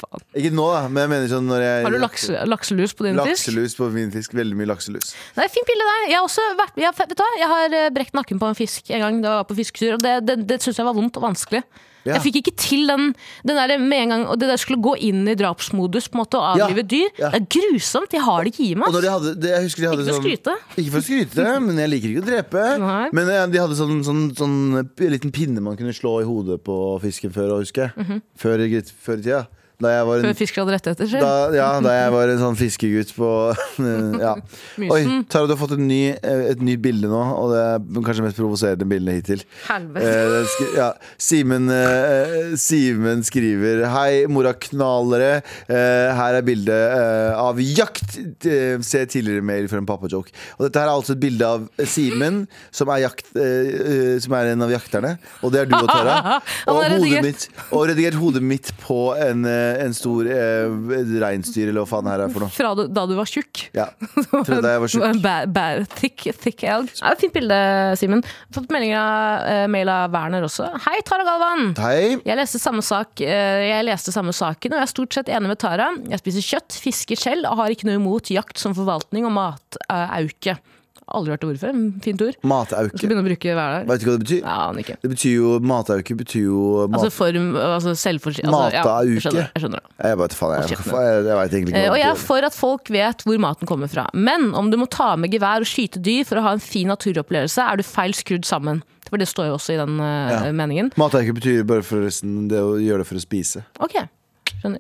[SPEAKER 2] sånn. Ikke nå, da, men jeg mener sånn når jeg
[SPEAKER 3] Har du lakse, lakselus på din fisk?
[SPEAKER 2] Lakselus på min fisk. Veldig mye lakselus.
[SPEAKER 3] Nei, Fint bilde der. Jeg har også vært, jeg, har- vet du hva? Jeg har eh, brekt nakken på en fisk en gang da jeg var på fisketur. Og det, det, det syntes jeg var vondt og vanskelig.
[SPEAKER 2] Ja.
[SPEAKER 3] Jeg fikk ikke til den, den der med en gang Og det der skulle gå inn i drapsmodus på en måte og
[SPEAKER 2] Ja,
[SPEAKER 3] avlive et dyr.
[SPEAKER 2] ja.
[SPEAKER 3] Det er grusomt. Jeg har det ikke i meg.
[SPEAKER 2] Og når
[SPEAKER 3] ass.
[SPEAKER 2] de hadde, det, jeg husker de hadde
[SPEAKER 3] Ikke for å
[SPEAKER 2] sånn,
[SPEAKER 3] skryte.
[SPEAKER 2] Ikke for å skryte, men jeg liker ikke å drepe.
[SPEAKER 3] Nei.
[SPEAKER 2] Men eh, de hadde sånn, sånn, sånn p- liten pinne man kunne slå i hodet på fisken før, og husker jeg. Før i- før i tida. Da jeg var
[SPEAKER 3] Mhm. Før
[SPEAKER 2] en
[SPEAKER 3] fisker hadde rettigheter selv.
[SPEAKER 2] da, ja, da jeg var en sånn fiskegutt på ja. Oi, Tara, du har fått en ny, eh, et nytt bilde nå, og det er kanskje det mest provoserende bildet hittil.
[SPEAKER 3] Helvete.
[SPEAKER 2] Eh, det skri- ja. Simen, eh, Simen skriver Hei, moraknalere. Eh, her er bilde eh, av jakt. Eh, se tidligere mail for en pappajoke. Og dette her er altså et bilde av Simen, som er, jakt, eh, eh, som er en av jakterne. Og det er du og Tara.
[SPEAKER 3] Han
[SPEAKER 2] Og,
[SPEAKER 3] har
[SPEAKER 2] hodet
[SPEAKER 3] redigert.
[SPEAKER 2] mitt, og redigert hodet mitt på en, eh, en stor eh, reinsdyr, eller hva faen det her er for noe.
[SPEAKER 3] Fra du, da du var tjukk.
[SPEAKER 2] Ja. Trodde jeg var
[SPEAKER 3] Du var
[SPEAKER 2] sjuk.
[SPEAKER 3] en bær, bær, thick, thick elg. Det er et fint bilde, Simen. Fått melding av eh, mail av Werner også. Hei, Tara Galvan!
[SPEAKER 2] Hei.
[SPEAKER 3] Jeg leste, samme sak, eh, jeg leste samme saken, og jeg er stort sett enig med Tara. Jeg spiser kjøtt, fisker selv og har ikke noe imot jakt som forvaltning og matauke. Aldri hørt det ordet før. Fint ord. Skal
[SPEAKER 2] Matauke.
[SPEAKER 3] begynne å bruke hver dag.
[SPEAKER 2] Vet du hva det betyr?
[SPEAKER 3] Ja, aner ikke.
[SPEAKER 2] Det betyr jo Matauke betyr jo mat...
[SPEAKER 3] Altså form, altså selvforsyning altså, ja,
[SPEAKER 2] Matauke.
[SPEAKER 3] jeg skjønner, jeg skjønner det.
[SPEAKER 2] Jeg vet, faen, jeg,
[SPEAKER 3] kjeft med.
[SPEAKER 2] jeg, jeg vet egentlig
[SPEAKER 3] Eh,
[SPEAKER 2] ikke
[SPEAKER 3] Og jeg
[SPEAKER 2] hva
[SPEAKER 3] er for at folk vet hvor maten kommer fra. Men om du må ta med gevær og skyte dyr for å ha en fin naturopplevelse, er du feil skrudd sammen. For det står jo også i den eh, meningen.
[SPEAKER 2] Matauke betyr bare forresten det å gjøre det for å spise.
[SPEAKER 3] Ok, skjønner.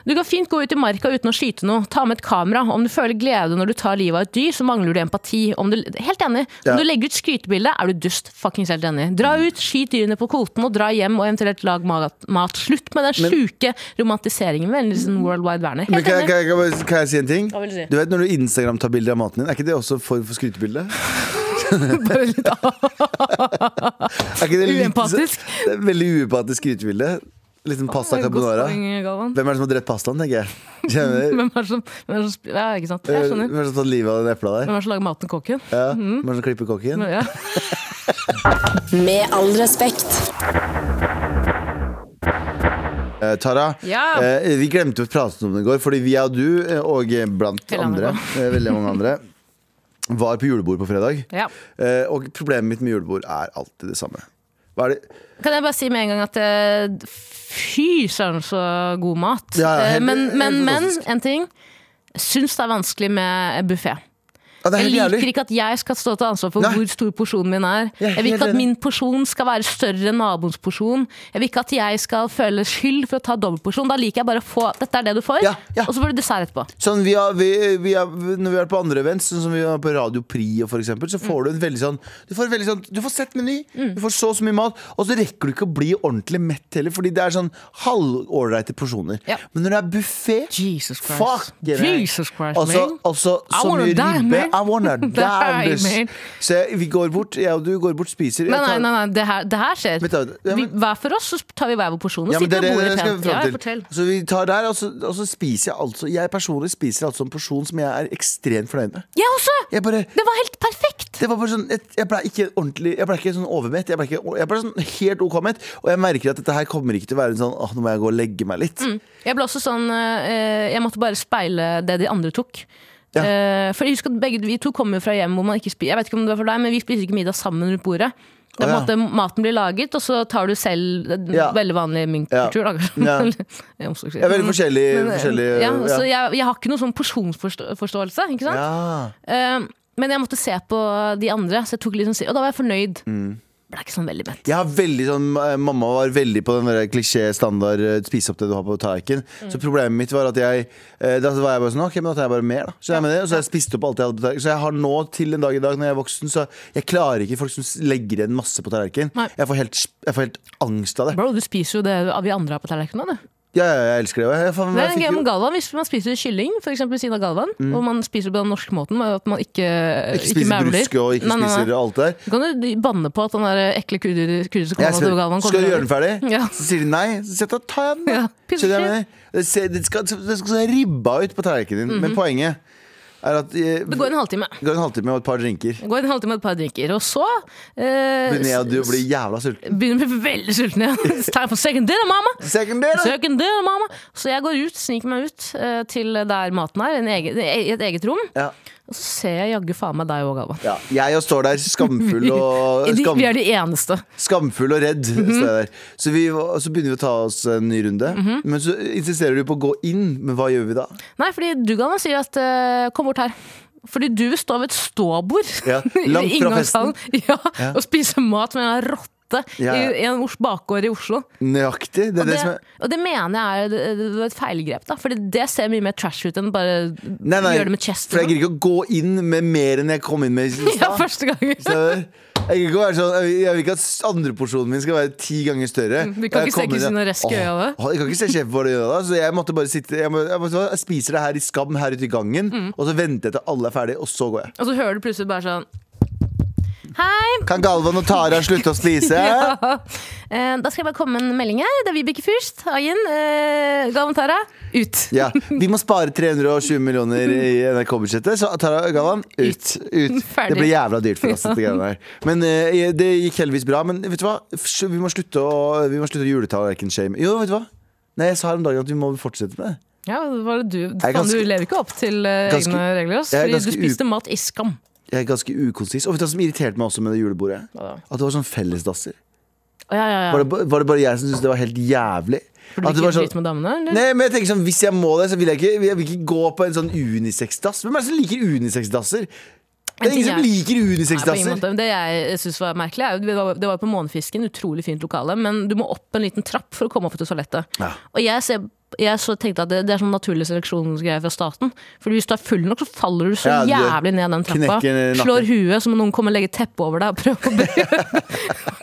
[SPEAKER 3] Du kan fint gå ut i marka uten å skyte noe. Ta med et kamera. Om du føler glede når du tar livet av et dyr, så mangler du empati. Om du, helt enig. Om
[SPEAKER 2] Ja. Mm.
[SPEAKER 3] du legger ut skrytebilde, er du dust. Fuckings helt enig. Dra ut, skyt dyrene på kvoten, og dra hjem og eventuelt lag mat. mat. Slutt med den sjuke romantiseringen med en liksom worldwide Werner.
[SPEAKER 2] Men
[SPEAKER 3] Helt
[SPEAKER 2] kan, jeg-
[SPEAKER 3] enig.
[SPEAKER 2] kan, jeg- kan, jeg- kan jeg si en ting?
[SPEAKER 3] Hva vil du si?
[SPEAKER 2] vet Når du Instagram tar bilde av maten din, er ikke det også for, for skrytebilde?
[SPEAKER 3] Bare litt av.
[SPEAKER 2] Er ikke det litt-
[SPEAKER 3] Uempatisk.
[SPEAKER 2] Det er veldig uempatisk skrytebilde. Liten pasta carbonara.
[SPEAKER 3] Godt poeng, Galvan.
[SPEAKER 2] Hvem er det som har drept pastaen, tenker jeg? Kjenner,
[SPEAKER 3] Hvem er det som, hvem er det som sp- ja, ikke sant?
[SPEAKER 2] hvem er det som
[SPEAKER 3] Jeg skjønner. Mm-hmm.
[SPEAKER 2] har tatt livet av den epla der?
[SPEAKER 3] Hvem er det som lager maten kokken?
[SPEAKER 2] Eh, Ja. Hvem er det som klipper kokken?
[SPEAKER 3] Ja.
[SPEAKER 1] Med all respekt.
[SPEAKER 2] Eh, Tara,
[SPEAKER 3] Ja.
[SPEAKER 2] eh, vi glemte å prate om det i går, fordi vi og du, eh, og eh, blant
[SPEAKER 3] Hele
[SPEAKER 2] andre,
[SPEAKER 3] NRK.
[SPEAKER 2] eh, veldig mange andre, var på julebord på fredag.
[SPEAKER 3] Ja.
[SPEAKER 2] Eh, og problemet mitt med julebord er alltid det samme. Hva er det?
[SPEAKER 3] Kan jeg bare si med en gang at eh, fy søren så god mat.
[SPEAKER 2] Ja, ja,
[SPEAKER 3] Eh,
[SPEAKER 2] helt-
[SPEAKER 3] men,
[SPEAKER 2] helt
[SPEAKER 3] men, men
[SPEAKER 2] fantastisk.
[SPEAKER 3] en ting. Syns det er vanskelig med buffé.
[SPEAKER 2] Ja, det er
[SPEAKER 3] Jeg
[SPEAKER 2] helt
[SPEAKER 3] liker
[SPEAKER 2] jævlig.
[SPEAKER 3] ikke at jeg skal stå til ansvar for
[SPEAKER 2] Nei.
[SPEAKER 3] hvor stor porsjonen min er.
[SPEAKER 2] Jeg er
[SPEAKER 3] Jeg vil
[SPEAKER 2] helt
[SPEAKER 3] ikke at
[SPEAKER 2] enig.
[SPEAKER 3] min porsjon skal være større enn naboens porsjon. Jeg vil ikke at jeg skal føle skyld for å ta dobbeltporsjon. Da liker jeg bare å få dette er det du får,
[SPEAKER 2] Ja, ja.
[SPEAKER 3] og så får du dessert etterpå.
[SPEAKER 2] Sånn vi har, vi, vi har, når vi har vært på andre events, sånn som vi var på Radio Pri, og for eksempel, så får du en veldig sånn Du får, en veldig sånn, du får sett meny,
[SPEAKER 3] Mm.
[SPEAKER 2] du får så og så mye mat, og så rekker du ikke å bli ordentlig mett heller, fordi det er sånn halvålreite porsjoner.
[SPEAKER 3] Ja.
[SPEAKER 2] Men når det er buffé
[SPEAKER 3] Jesus Christ.
[SPEAKER 2] Fuck it.
[SPEAKER 3] Jesus Christ,
[SPEAKER 2] altså,
[SPEAKER 3] man.
[SPEAKER 2] altså,
[SPEAKER 3] I
[SPEAKER 2] så
[SPEAKER 3] wanna
[SPEAKER 2] mye
[SPEAKER 3] die,
[SPEAKER 2] ribbe.
[SPEAKER 3] man.
[SPEAKER 2] I wanna die,
[SPEAKER 3] Die,
[SPEAKER 2] miss.
[SPEAKER 3] man.
[SPEAKER 2] Så jeg, vi går bort, jeg og du går bort, spiser. jeg
[SPEAKER 3] Nei, nei,
[SPEAKER 2] tar-
[SPEAKER 3] nei, nei det, her, det her skjer.
[SPEAKER 2] Vent da, ja,
[SPEAKER 3] Vi-
[SPEAKER 2] men-
[SPEAKER 3] Hver for oss, så tar vi hver vår porsjon. Og
[SPEAKER 2] Ja, men det
[SPEAKER 3] sitter
[SPEAKER 2] er det
[SPEAKER 3] ved
[SPEAKER 2] det
[SPEAKER 3] bordet
[SPEAKER 2] jeg skal
[SPEAKER 3] pent. Ja,
[SPEAKER 2] fram til.
[SPEAKER 3] fortell.
[SPEAKER 2] Så vi tar der, og så, og så spiser jeg altså Jeg personlig spiser altså en porsjon som jeg er ekstremt fornøyd med.
[SPEAKER 3] Jeg også!
[SPEAKER 2] Jeg bare
[SPEAKER 3] Det var helt perfekt!
[SPEAKER 2] det var bare sånn, jeg, jeg ble ikke ordentlig Jeg ble ikke sånn overmett. Jeg ble, ikke, jeg ble sånn helt OK mett. Og jeg merker at dette her kommer ikke til å være en sånn Åh, nå må jeg gå og legge meg litt.
[SPEAKER 3] Jeg ble også sånn eh, Jeg måtte bare speile det de andre tok.
[SPEAKER 2] Ja.
[SPEAKER 3] Eh, for jeg husker at begge Vi to kommer jo fra hjem hvor man ikke spiser Jeg vet ikke om det var for deg, men vi spiser ikke middag sammen rundt bordet. Det er på
[SPEAKER 2] Å,
[SPEAKER 3] en måte Maten blir laget, og så tar du selv det
[SPEAKER 2] Ja.
[SPEAKER 3] er Veldig vanlig min kultur, da.
[SPEAKER 2] Ja.
[SPEAKER 3] Jeg er
[SPEAKER 2] Jeg
[SPEAKER 3] omsorgsgiver.
[SPEAKER 2] er veldig forskjellig.
[SPEAKER 3] Men, eh,
[SPEAKER 2] forskjellig
[SPEAKER 3] ja,
[SPEAKER 2] ja.
[SPEAKER 3] Så jeg, jeg har ikke noen sånn porsjonsforståelse. Ikke sant?
[SPEAKER 2] Ja.
[SPEAKER 3] Eh, men jeg måtte se på de andre, så jeg tok liksom, og da var jeg fornøyd.
[SPEAKER 2] Mm.
[SPEAKER 3] Ble ikke sånn veldig mett.
[SPEAKER 2] Jeg har veldig sånn, eh, Mamma var veldig på den der klisjé standard eh, spis opp det du har på tallerkenen.
[SPEAKER 3] Mm.
[SPEAKER 2] Så problemet mitt var at jeg eh, Da var jeg bare sånn, ok, men da tar jeg bare mer da Så jeg, med det, og så har jeg spist opp alt jeg hadde på tallerkenen. Så jeg har nå til en dag i dag, når jeg er voksen, så jeg klarer ikke folk som s- legger igjen masse på tallerkenen.
[SPEAKER 3] Nei.
[SPEAKER 2] Jeg, får helt sp- jeg får helt angst av det.
[SPEAKER 3] Bro, du spiser jo det vi andre har på tallerkenen. du.
[SPEAKER 2] Ja, ja, jeg elsker det. og Jeg, faen,
[SPEAKER 3] Det er
[SPEAKER 2] jeg
[SPEAKER 3] en greie
[SPEAKER 2] fikk
[SPEAKER 3] med
[SPEAKER 2] jo, Mm.
[SPEAKER 3] galvan. Hvis man spiser kylling for eksempel, ved siden av galvan, og man spiser på den norske måten, med at man ikke,
[SPEAKER 2] ikke spiser
[SPEAKER 3] mauler.
[SPEAKER 2] bruske og ikke
[SPEAKER 3] Nei, nei, nei.
[SPEAKER 2] spiser alt der.
[SPEAKER 3] Da Kan du banne på at den der ekle kurder kurder som
[SPEAKER 2] Jeg
[SPEAKER 3] kommer
[SPEAKER 2] spør,
[SPEAKER 3] til galvan
[SPEAKER 2] skal du gjøre den ferdig?
[SPEAKER 3] Ja.
[SPEAKER 2] Så sier de nei. Så sier jeg, da tar jeg den. da.
[SPEAKER 3] Ja, piece of
[SPEAKER 2] Skjønner du hva jeg mener? Det ser- det skal, det skal se ribba ut på tallerkenen din, men poenget er at eh,
[SPEAKER 3] Mhm. Det går en halvtime.
[SPEAKER 2] Det går en halvtime og et par drinker.
[SPEAKER 3] Det går en halvtime og et par drinker. Og så
[SPEAKER 2] Men
[SPEAKER 3] eh,
[SPEAKER 2] jeg og du blir jævla sulten.
[SPEAKER 3] begynner vi veldig sulten igjen. It's time for second dinner, mamma!
[SPEAKER 2] Second day, da!
[SPEAKER 3] Second dinner, mamma! Så jeg går ut, sniker meg ut eh, til der maten er, en egen, i et eget rom.
[SPEAKER 2] Ja,
[SPEAKER 3] Og så ser jeg jaggu faen meg deg òg, Galvan.
[SPEAKER 2] ja. Jeg og står der skamfull og,
[SPEAKER 3] I de-
[SPEAKER 2] skam,
[SPEAKER 3] Vi er de Mhm. eneste.
[SPEAKER 2] skamfull og redd. står jeg der. Så, vi, var- så begynner vi å ta oss en ny runde.
[SPEAKER 3] Mhm.
[SPEAKER 2] Men så insisterer du på å gå inn. Men hva gjør vi da?
[SPEAKER 3] Nei, fordi du Galvan sier at eh, kom bort her. Fordi du vil stå ved et ståbord
[SPEAKER 2] Ja, langt fra
[SPEAKER 3] i inngangshallen. ja, og spise mat med den rotta hette
[SPEAKER 2] Ja, ja.
[SPEAKER 3] I, i en Os- bakgård i Oslo.
[SPEAKER 2] Nøyaktig. Det er det,
[SPEAKER 3] Det,
[SPEAKER 2] som er
[SPEAKER 3] og det mener jeg er det, det var et feilgrep, da. Fordi det ser mye mer trash ut enn bare
[SPEAKER 2] Nei, nei,
[SPEAKER 3] gjøre det med chest. liksom.
[SPEAKER 2] for jeg gidder ikke å gå inn med mer enn jeg kom inn med i stad.
[SPEAKER 3] ja, første gangen.
[SPEAKER 2] Så Jeg vil ikke, være sånn, jeg vil ikke at andreporsjonen min skal være ti ganger større.
[SPEAKER 3] Mm, vi kan
[SPEAKER 2] Og jeg
[SPEAKER 3] ikke se
[SPEAKER 2] kommer inn,
[SPEAKER 3] Kristine Resk i
[SPEAKER 2] «Åh,
[SPEAKER 3] øynene».
[SPEAKER 2] åh, Jeg kan ikke se sjefen vår i øynene. Så jeg måtte bare sitte Jeg, må, jeg, må, jeg spiser det her i skam her ute i gangen,
[SPEAKER 3] Mm.
[SPEAKER 2] og så venter jeg til alle er ferdige, og så går jeg.
[SPEAKER 3] Og så hører du plutselig bare sånn Hei!
[SPEAKER 2] Kan Galvan og Tara slutte å spise?
[SPEAKER 3] Eh, da skal jeg bare komme med en melding her. Det er Vibeke Fürst Hagen. Eh, Galvan Tara, ut.
[SPEAKER 2] Ja, Vi må spare 320 millioner i NRK-budsjettet, så Tara Galvan, ut. ut. Det
[SPEAKER 3] Ferdig.
[SPEAKER 2] blir jævla dyrt for oss. dette greiene her Men eh, Det gikk heldigvis bra. Men vet du hva? Fsj, vi må slutte å, vi må slutte å juletallerken-shame. Jo, vet du hva? Nei, Jeg sa her om dagen at vi må fortsette med det.
[SPEAKER 3] Ja, hva var det du,
[SPEAKER 2] er
[SPEAKER 3] faen,
[SPEAKER 2] ganske-
[SPEAKER 3] du lever ikke opp til eh,
[SPEAKER 2] Ganske-
[SPEAKER 3] egne regler. Ass,
[SPEAKER 2] Jeg er
[SPEAKER 3] fordi
[SPEAKER 2] ganske
[SPEAKER 3] du spiste mat i skam.
[SPEAKER 2] Jeg er ganske ukonsis. Og vet du hva som irriterte meg også med det julebordet? At det var sånn fellesdasser.
[SPEAKER 3] Å, Ja, ja, ja.
[SPEAKER 2] Var det, ba- var det bare jeg som syntes det var helt jævlig?
[SPEAKER 3] For du
[SPEAKER 2] At det
[SPEAKER 3] gikk
[SPEAKER 2] var
[SPEAKER 3] sånn...
[SPEAKER 2] sånn
[SPEAKER 3] med damene? Eller?
[SPEAKER 2] Nei, men jeg tenker sånn, Hvis jeg må det, så vil jeg ikke, jeg vil ikke gå på en sånn unisex-dass. Hvem er det som liker unisex-dasser? Det
[SPEAKER 3] En
[SPEAKER 2] er
[SPEAKER 3] ting
[SPEAKER 2] ingen som
[SPEAKER 3] er-
[SPEAKER 2] liker
[SPEAKER 3] Nei, på ingen
[SPEAKER 2] unisex-dasser.
[SPEAKER 3] måte. Men Det jeg syns var merkelig, er jo det var- det var på Månefisken, utrolig fint lokale, men du må opp en liten trapp for å komme opp til toalettet.
[SPEAKER 2] Ja.
[SPEAKER 3] Og jeg, ser, jeg så tenkte at det, det er sånn naturlig seleksjonsgreie fra staten. For hvis du er full nok, så faller du så
[SPEAKER 2] Ja, du
[SPEAKER 3] jævlig ned den trappa.
[SPEAKER 2] knekker nakken.
[SPEAKER 3] Slår huet, så må noen komme og legge teppe over deg og prøve å,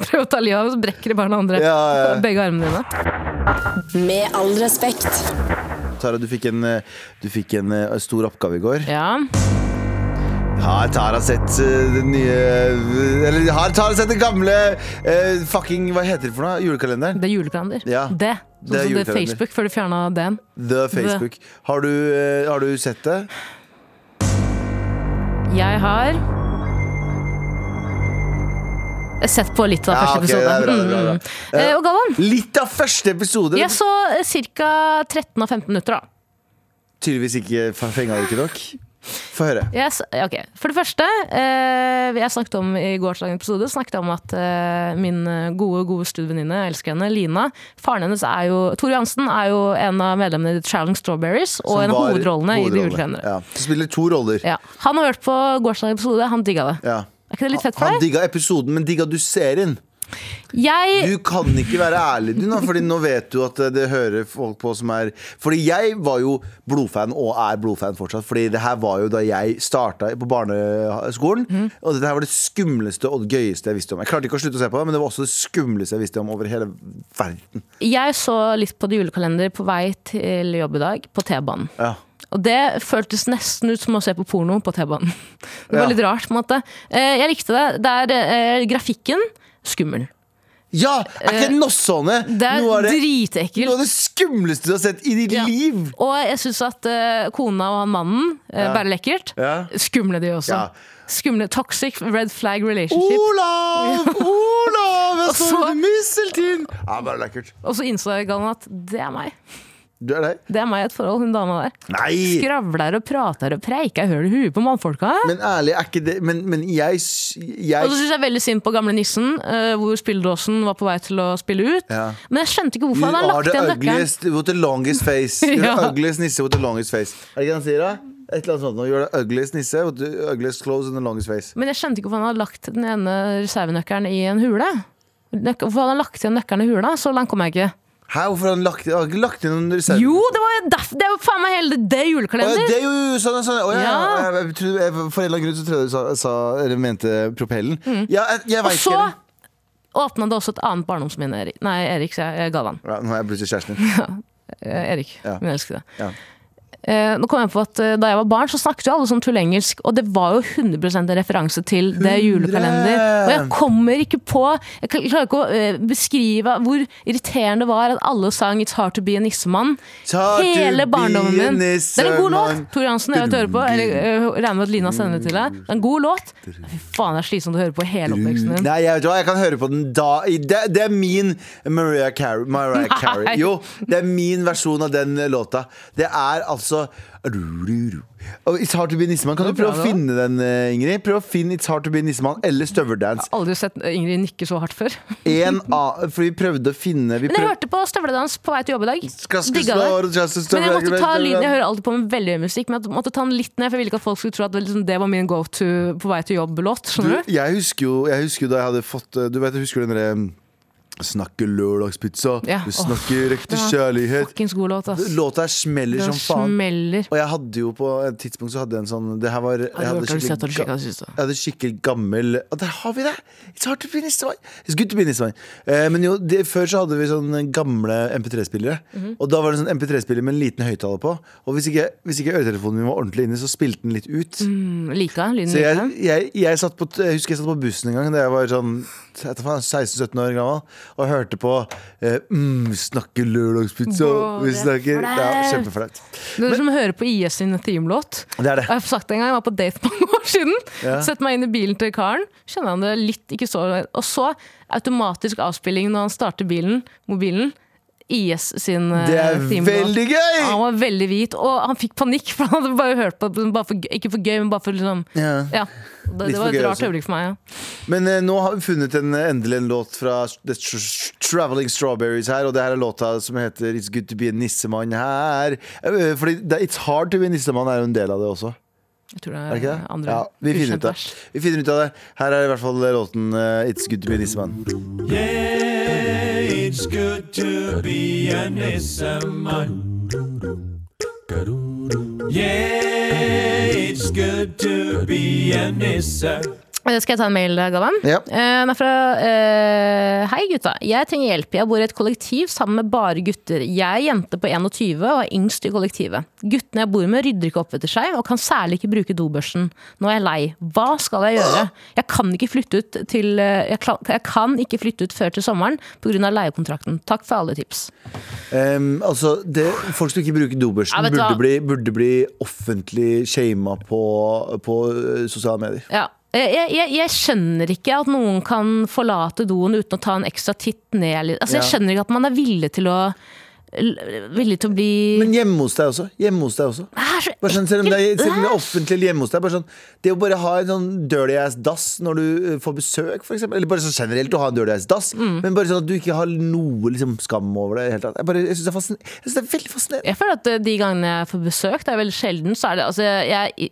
[SPEAKER 3] prøve å ta livet av deg, og så brekker de bare den andre.
[SPEAKER 2] Ja, ja.
[SPEAKER 3] Begge armene dine.
[SPEAKER 6] Med all respekt.
[SPEAKER 2] Tara, du fikk en, eh, du fikk en eh, stor oppgave i går.
[SPEAKER 3] Ja.
[SPEAKER 2] Har Tara sett eh, den nye eh, Eller har Tara sett den gamle eh, fucking Hva heter det for noe? Julekalenderen?
[SPEAKER 3] Det er julekalender.
[SPEAKER 2] Ja,
[SPEAKER 3] Det.
[SPEAKER 2] det er
[SPEAKER 3] Sånn som det er
[SPEAKER 2] julekalender.
[SPEAKER 3] Facebook, før du fjerna den.
[SPEAKER 2] The Facebook. Har du, eh, har du sett det?
[SPEAKER 3] Jeg har sett på litt av
[SPEAKER 2] Ja,
[SPEAKER 3] første
[SPEAKER 2] ok, det
[SPEAKER 3] episode.
[SPEAKER 2] er bra, det er bra, det er bra.
[SPEAKER 3] Mm. Eh, og Galvan,
[SPEAKER 2] Litt av første episode!
[SPEAKER 3] Mm. jeg så ca. 13 av 15 minutter. da
[SPEAKER 2] Tydeligvis ikke fenga det ikke nok. Få høre.
[SPEAKER 3] jeg, s- ja, ok. For det første, eh, jeg snakket om i gårsdagens episode Snakket om at eh, min gode gode studievenninne, jeg elsker henne, Lina Faren hennes er jo Tore Johansen er jo en av medlemmene i Challenge Strawberries og
[SPEAKER 2] Som
[SPEAKER 3] en av
[SPEAKER 2] var
[SPEAKER 3] hovedrollene i De
[SPEAKER 2] hovedrollene.
[SPEAKER 3] julekalendere.
[SPEAKER 2] Ja. Du spiller to roller.
[SPEAKER 3] Ja. Han har hørt på gårsdagens episode, han digga det.
[SPEAKER 2] Ja.
[SPEAKER 3] Er ikke det litt fett for
[SPEAKER 2] Han
[SPEAKER 3] deg?
[SPEAKER 2] digga episoden, men digga du serien?
[SPEAKER 3] Jeg
[SPEAKER 2] Du kan ikke være ærlig, du nå, Fordi nå vet du at det hører folk på som er Fordi jeg var jo blodfan, og er blodfan fortsatt. Fordi det her var jo da jeg starta på barneskolen.
[SPEAKER 3] Mhm.
[SPEAKER 2] Og dette her var det skumleste og det gøyeste jeg visste om. Jeg klarte ikke å slutte å se på det, men det var også det skumleste jeg visste om over hele verden.
[SPEAKER 3] Jeg så litt på det julekalender på vei til jobb i dag, på T-banen.
[SPEAKER 2] Ja.
[SPEAKER 3] Og det føltes nesten ut som å se på porno på T-banen. Det var
[SPEAKER 2] Ja.
[SPEAKER 3] litt rart, på en måte. Eh, Jeg likte det. Det er eh, grafikken skummel.
[SPEAKER 2] Ja! Er ikke Nossåne
[SPEAKER 3] Eh, Det er
[SPEAKER 2] noe av det, noe
[SPEAKER 3] dritekkelt.
[SPEAKER 2] av det skumleste du har sett i ditt
[SPEAKER 3] Ja.
[SPEAKER 2] liv?
[SPEAKER 3] Og jeg syns at eh, kona og han mannen, eh, bare lekkert.
[SPEAKER 2] Ja.
[SPEAKER 3] Skumle de også.
[SPEAKER 2] Ja. Oh!
[SPEAKER 3] Skumle toxic red flag relationship.
[SPEAKER 2] Olav! Olav! Jeg
[SPEAKER 3] Og
[SPEAKER 2] så
[SPEAKER 3] så-
[SPEAKER 2] du misseltin! Ja, bare lekkert.
[SPEAKER 3] Og så innså jeg Galvan, at det er meg.
[SPEAKER 2] Du er deg?
[SPEAKER 3] Det er meg i et forhold, hun dama der.
[SPEAKER 2] Nei!
[SPEAKER 3] Skravler og prater og preiker, jeg hører huet på mannfolka.
[SPEAKER 2] Men ærlig, er ikke det Men, men jeg, s-
[SPEAKER 3] Og så
[SPEAKER 2] jeg
[SPEAKER 3] syns jeg veldig synd på gamle nissen, eh, hvor spilledåsen var på vei til å spille ut.
[SPEAKER 2] Ja.
[SPEAKER 3] Men jeg skjønte ikke hvorfor
[SPEAKER 2] You
[SPEAKER 3] han har
[SPEAKER 2] are
[SPEAKER 3] lagt
[SPEAKER 2] the
[SPEAKER 3] igjen nøkkelen.
[SPEAKER 2] ugliest with the longest face. You're the
[SPEAKER 3] Ja.
[SPEAKER 2] ugliest nisse with the longest face. Er det ikke det han sier, da? Et eller annet sånt. nå. You're the ugliest nisse with the ugliest clothes and the longest face.
[SPEAKER 3] Men jeg skjønte ikke hvorfor han hadde lagt den ene reservenøkkelen i en hule. Nøk hvorfor han hadde lagt igjen nøkkelen i hula? Så langt kom jeg ikke.
[SPEAKER 2] Hæ, hvorfor har han lagt, har han ikke lagt inn noen reserver?
[SPEAKER 3] Jo, det, var, jo derf- det er jo faen meg hele det
[SPEAKER 2] Å ja,
[SPEAKER 3] julekalender!
[SPEAKER 2] det er jo sånn, sånn. Å, ja, ja.
[SPEAKER 3] Ja.
[SPEAKER 2] Jeg, jeg, trodde- jeg, for en eller annen grunn så trodde jeg du sa, sa, eller mente propellen. Ja, jeg, jeg
[SPEAKER 3] Mm. Og
[SPEAKER 2] vet
[SPEAKER 3] så
[SPEAKER 2] ikke.
[SPEAKER 3] åpna det også et annet barndomsminne. Erik. Nei, Erik, sier jeg. Eh, Galvan.
[SPEAKER 2] Ja, nå er jeg plutselig kjæresten din.
[SPEAKER 3] Eh, Erik,
[SPEAKER 2] Ja.
[SPEAKER 3] min elskede.
[SPEAKER 2] Ja.
[SPEAKER 3] Eh, nå kom jeg på at eh, Da jeg var barn, så snakket jo alle sånn tullengelsk, og det var jo 100 en referanse til det julekalender. Og jeg kommer ikke på Jeg kl- klarer ikke å eh, beskrive hvor irriterende det var at alle sang 'It's Hard To Be a Nissemann'.
[SPEAKER 2] Hard to
[SPEAKER 3] Hele
[SPEAKER 2] be
[SPEAKER 3] barndommen
[SPEAKER 2] a
[SPEAKER 3] min. Det er en god låt.
[SPEAKER 2] nissemann.
[SPEAKER 3] Tor Jansen, jeg vet du hører på. Eller eh, regner med at Lina sender det til deg. Det er en god låt. Fy faen, det er slitsomt å høre på hele oppveksten din.
[SPEAKER 2] Nei, jeg vet hva, jeg kan høre på den da i- Det, det er min Mariah Carey, Mariah Carey.
[SPEAKER 3] Nei.
[SPEAKER 2] Jo, det er min versjon av den låta. Det er altså altså ru-ru-ru. Og It's Hard To Be Nissemann. Kan du
[SPEAKER 3] Det var
[SPEAKER 2] prøve
[SPEAKER 3] bra,
[SPEAKER 2] å
[SPEAKER 3] det var.
[SPEAKER 2] finne den, eh, Ingrid? Prøv å finne It's Hard To Be Nissemann eller Støveldance.
[SPEAKER 3] Aldri sett Ingrid nikke så hardt før.
[SPEAKER 2] En av, for vi prøvde å finne vi
[SPEAKER 3] Men jeg
[SPEAKER 2] prøv-
[SPEAKER 3] hørte på støvledans på vei til jobb i dag.
[SPEAKER 2] Skal- skal-
[SPEAKER 3] Digga
[SPEAKER 2] skal-
[SPEAKER 3] det.
[SPEAKER 2] skal- skal- skal-
[SPEAKER 3] Men jeg måtte ta
[SPEAKER 2] skal-
[SPEAKER 3] lyden. Jeg hører alltid på med veldig høy musikk, men jeg måtte ta den litt ned, for jeg ville ikke at folk skulle tro at det, liksom, det var min go to på vei til jobb-låt.
[SPEAKER 2] du,
[SPEAKER 3] Skjønner du?
[SPEAKER 2] jeg, husker jo, jeg husker jo da jeg hadde fått eh, Du vet, jeg husker den derre mm, Snakke lørdagspizza,
[SPEAKER 3] Ja,
[SPEAKER 2] du
[SPEAKER 3] åh.
[SPEAKER 2] snakker ekte
[SPEAKER 3] Ja,
[SPEAKER 2] kjærlighet.
[SPEAKER 3] Fuckings god låt, ass.
[SPEAKER 2] Låta her smeller
[SPEAKER 3] Den
[SPEAKER 2] som faen.
[SPEAKER 3] smeller.
[SPEAKER 2] Og jeg hadde jo på et tidspunkt så hadde jeg en sånn Det her var jeg
[SPEAKER 3] Har
[SPEAKER 2] hadde
[SPEAKER 3] du hørt, har du sett, har du
[SPEAKER 2] skikkelig,
[SPEAKER 3] sjekket, hva
[SPEAKER 2] ga-
[SPEAKER 3] du synes da?
[SPEAKER 2] jeg hadde skikkelig gammel Og der har vi det! It's hard to be this way. It's good to be this way. Eh, men jo, det, før så hadde vi sånne gamle MP3-spillere.
[SPEAKER 3] Mhm.
[SPEAKER 2] Og da var det en sånn MP3-spiller med en liten høyttaler på. Og hvis ikke, hvis ikke øretelefonen min var ordentlig inne, så spilte den litt ut.
[SPEAKER 3] Mm, Lika lyden.
[SPEAKER 2] Så jeg,
[SPEAKER 3] Lika.
[SPEAKER 2] jeg, jeg, satt på, t- jeg husker jeg satt på bussen en gang da jeg var sånn jeg vet ikke faen, 16-17 år gammel og hørte på eh, mm, 'Snakke lørdagspizza'.
[SPEAKER 3] Bro,
[SPEAKER 2] Vi
[SPEAKER 3] det er
[SPEAKER 2] snakker ja,
[SPEAKER 3] flaut.
[SPEAKER 2] Kjempeflaut.
[SPEAKER 3] Det er som å høre på IS sin teamlåt.
[SPEAKER 2] Det er det.
[SPEAKER 3] Jeg har sagt det en gang, jeg var på date for mange år siden.
[SPEAKER 2] Ja.
[SPEAKER 3] Sett meg inn i bilen til karen. Kjenner han det litt, ikke så Og så automatisk avspilling når han starter bilen, mobilen. IS sin eh,
[SPEAKER 2] Det er
[SPEAKER 3] teamlåt.
[SPEAKER 2] veldig gøy!
[SPEAKER 3] Ja, Han var veldig hvit, og han fikk panikk, for han hadde bare hørt på den bare for, gøy- Ikke for gøy, men bare for liksom
[SPEAKER 2] Ja.
[SPEAKER 3] Ja. Det,
[SPEAKER 2] Litt
[SPEAKER 3] det
[SPEAKER 2] for
[SPEAKER 3] var et
[SPEAKER 2] gøy
[SPEAKER 3] rart
[SPEAKER 2] også.
[SPEAKER 3] øyeblikk for meg. Ja.
[SPEAKER 2] Men eh, nå har vi funnet en, eh, endelig en låt fra The Tr- Tr- Traveling Strawberries her, og det her er låta som heter 'It's Good To Be a Nissemann' her. Eh, Fordi det, 'It's Hard To Be a Nissemann' er jo en del av det også.
[SPEAKER 3] Jeg tror
[SPEAKER 2] Er
[SPEAKER 3] det
[SPEAKER 2] det
[SPEAKER 3] er,
[SPEAKER 2] ikke det?
[SPEAKER 3] Eh, andre
[SPEAKER 2] ja, vi finner,
[SPEAKER 3] ukjent
[SPEAKER 2] ut av.
[SPEAKER 3] vers.
[SPEAKER 2] det. vi finner ut av det. Her er i hvert fall låten eh, 'It's Good To Be a Nissemann'.
[SPEAKER 7] It's good to be a Nissaman. Yeah, it's good to be a Nissa.
[SPEAKER 3] Eh, Skal jeg ta en mail, Galvan?
[SPEAKER 2] Ja.
[SPEAKER 3] Eh, Den er fra eh, Hei, gutta. Jeg trenger hjelp. Jeg bor i et kollektiv sammen med bare gutter. Jeg er jente på 21 og er yngst i kollektivet. Guttene jeg bor med, rydder ikke opp etter seg og kan særlig ikke bruke dobørsten. Nå er jeg lei. Hva skal jeg gjøre? Jeg kan ikke flytte ut, til, eh, jeg kla- jeg kan ikke flytte ut før til sommeren pga. leiekontrakten. Takk for alle tips.
[SPEAKER 2] Em, altså, det, folk som ikke bruker dobørsten,
[SPEAKER 3] Ja, vet du
[SPEAKER 2] burde,
[SPEAKER 3] hva?
[SPEAKER 2] bli, burde bli offentlig shama på, på eh, sosiale medier.
[SPEAKER 3] Ja. Jeg, jeg- jeg, jeg skjønner ikke at noen kan forlate doen uten å ta en ekstra titt ned. litt. Altså, jeg
[SPEAKER 2] Ja.
[SPEAKER 3] skjønner ikke at man er villig til å l- Villig til å bli
[SPEAKER 2] Men hjemme hos deg også. Hjemme hos deg også.
[SPEAKER 3] er så
[SPEAKER 2] Bare sånn, selv om det er,
[SPEAKER 3] ekkelt.
[SPEAKER 2] selv om det er offentlig eller hjemme hos deg. Bare sånn, det å bare ha en sånn dirty ass dass når du eh, får besøk, for eksempel. Eller bare sånn generelt å ha en dirty ass dass. Men bare sånn at du ikke har noe liksom, skam over det. i det hele tatt. Jeg, bare- jeg syns det, er fascin- jeg synes det er veldig fascinerende.
[SPEAKER 3] Jeg føler at eh, de gangene jeg får besøk, det er veldig sjelden, så er det altså jeg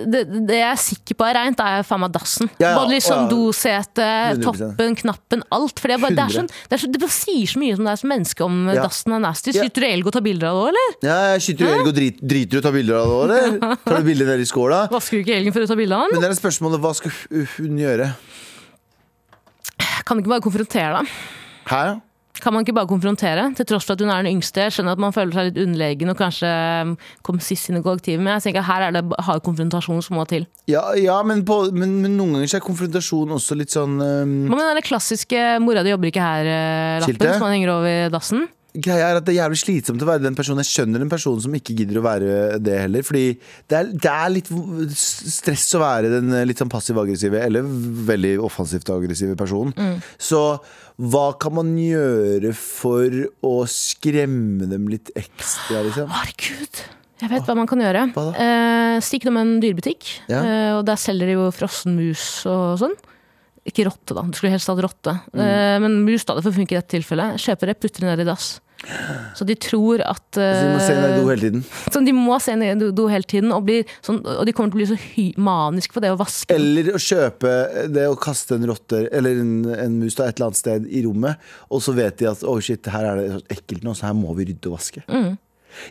[SPEAKER 3] det, det jeg er sikker på er reint, er faen meg dassen.
[SPEAKER 2] Ja, ja,
[SPEAKER 3] Både
[SPEAKER 2] ja.
[SPEAKER 3] liksom dosete,
[SPEAKER 2] 100%.
[SPEAKER 3] toppen, knappen, alt. For det, er bare, det,
[SPEAKER 2] 100.
[SPEAKER 3] er sånn, det, er så, det bare sier så mye om deg som menneske om eh,
[SPEAKER 2] Ja.
[SPEAKER 3] dassen er nasty.
[SPEAKER 2] Ja.
[SPEAKER 3] Syns du Elgo tar bilder av det òg, eller?
[SPEAKER 2] Ja, jeg skyter jo elg og drit, driter og tar bilder av det òg, eller? Tar du bilder nede i skåla?
[SPEAKER 3] Vasker du ikke Elgen før du tar bilde av han?
[SPEAKER 2] Men det er spørsmålet hva skal hun gjøre?
[SPEAKER 3] Kan du ikke bare konfrontere ham?
[SPEAKER 2] Hæ?
[SPEAKER 3] Kan man ikke bare konfrontere, til tross for at hun er den yngste? Jeg skjønner at man føler seg litt underlegen og kanskje um, kom sist inn i kollektivet, men jeg tenker her er det b- hard konfrontasjon som må til.
[SPEAKER 2] Ja, ja men, på, men, men noen ganger så er konfrontasjon også litt sånn ehm,
[SPEAKER 3] Hva med den der klassiske 'mora di jobber ikke her'-lappen
[SPEAKER 2] Skiltet?
[SPEAKER 3] som man henger over dassen?
[SPEAKER 2] Greia er at det er jævlig slitsomt å være den personen. Jeg skjønner en person som ikke gidder å være det heller. Fordi det er, det er litt v- stress å være den eh, litt sånn passiv-aggressive, eller veldig offensivt aggressive personen. Så hva kan man gjøre for å skremme dem litt ekstra, liksom?
[SPEAKER 3] Herregud! Jeg vet hva man kan gjøre.
[SPEAKER 2] Hva da?
[SPEAKER 3] Eh, Stikk innom en dyrebutikk,
[SPEAKER 2] Ja.
[SPEAKER 3] eh, og der selger de jo frossen mus og sånn. Ikke rotte, da. Du skulle helst hatt rotte.
[SPEAKER 2] Mm.
[SPEAKER 3] Eh, men mus da, det får funke i dette tilfellet. Kjøper det, putter det ned i dass. Så de tror at
[SPEAKER 2] Så vi må se
[SPEAKER 3] eh,
[SPEAKER 2] deg do hele tiden.
[SPEAKER 3] Sånn, de må se ned i do hele tiden, og, blir sånn, og de kommer til å bli så hy manisk på det å vaske.
[SPEAKER 2] Eller å kjøpe det å kaste en rotte eller en, en mus da, et eller annet sted i rommet, og så vet de at oh shit, her er det ekkelt nå, så her må vi rydde og vaske.
[SPEAKER 3] Mm.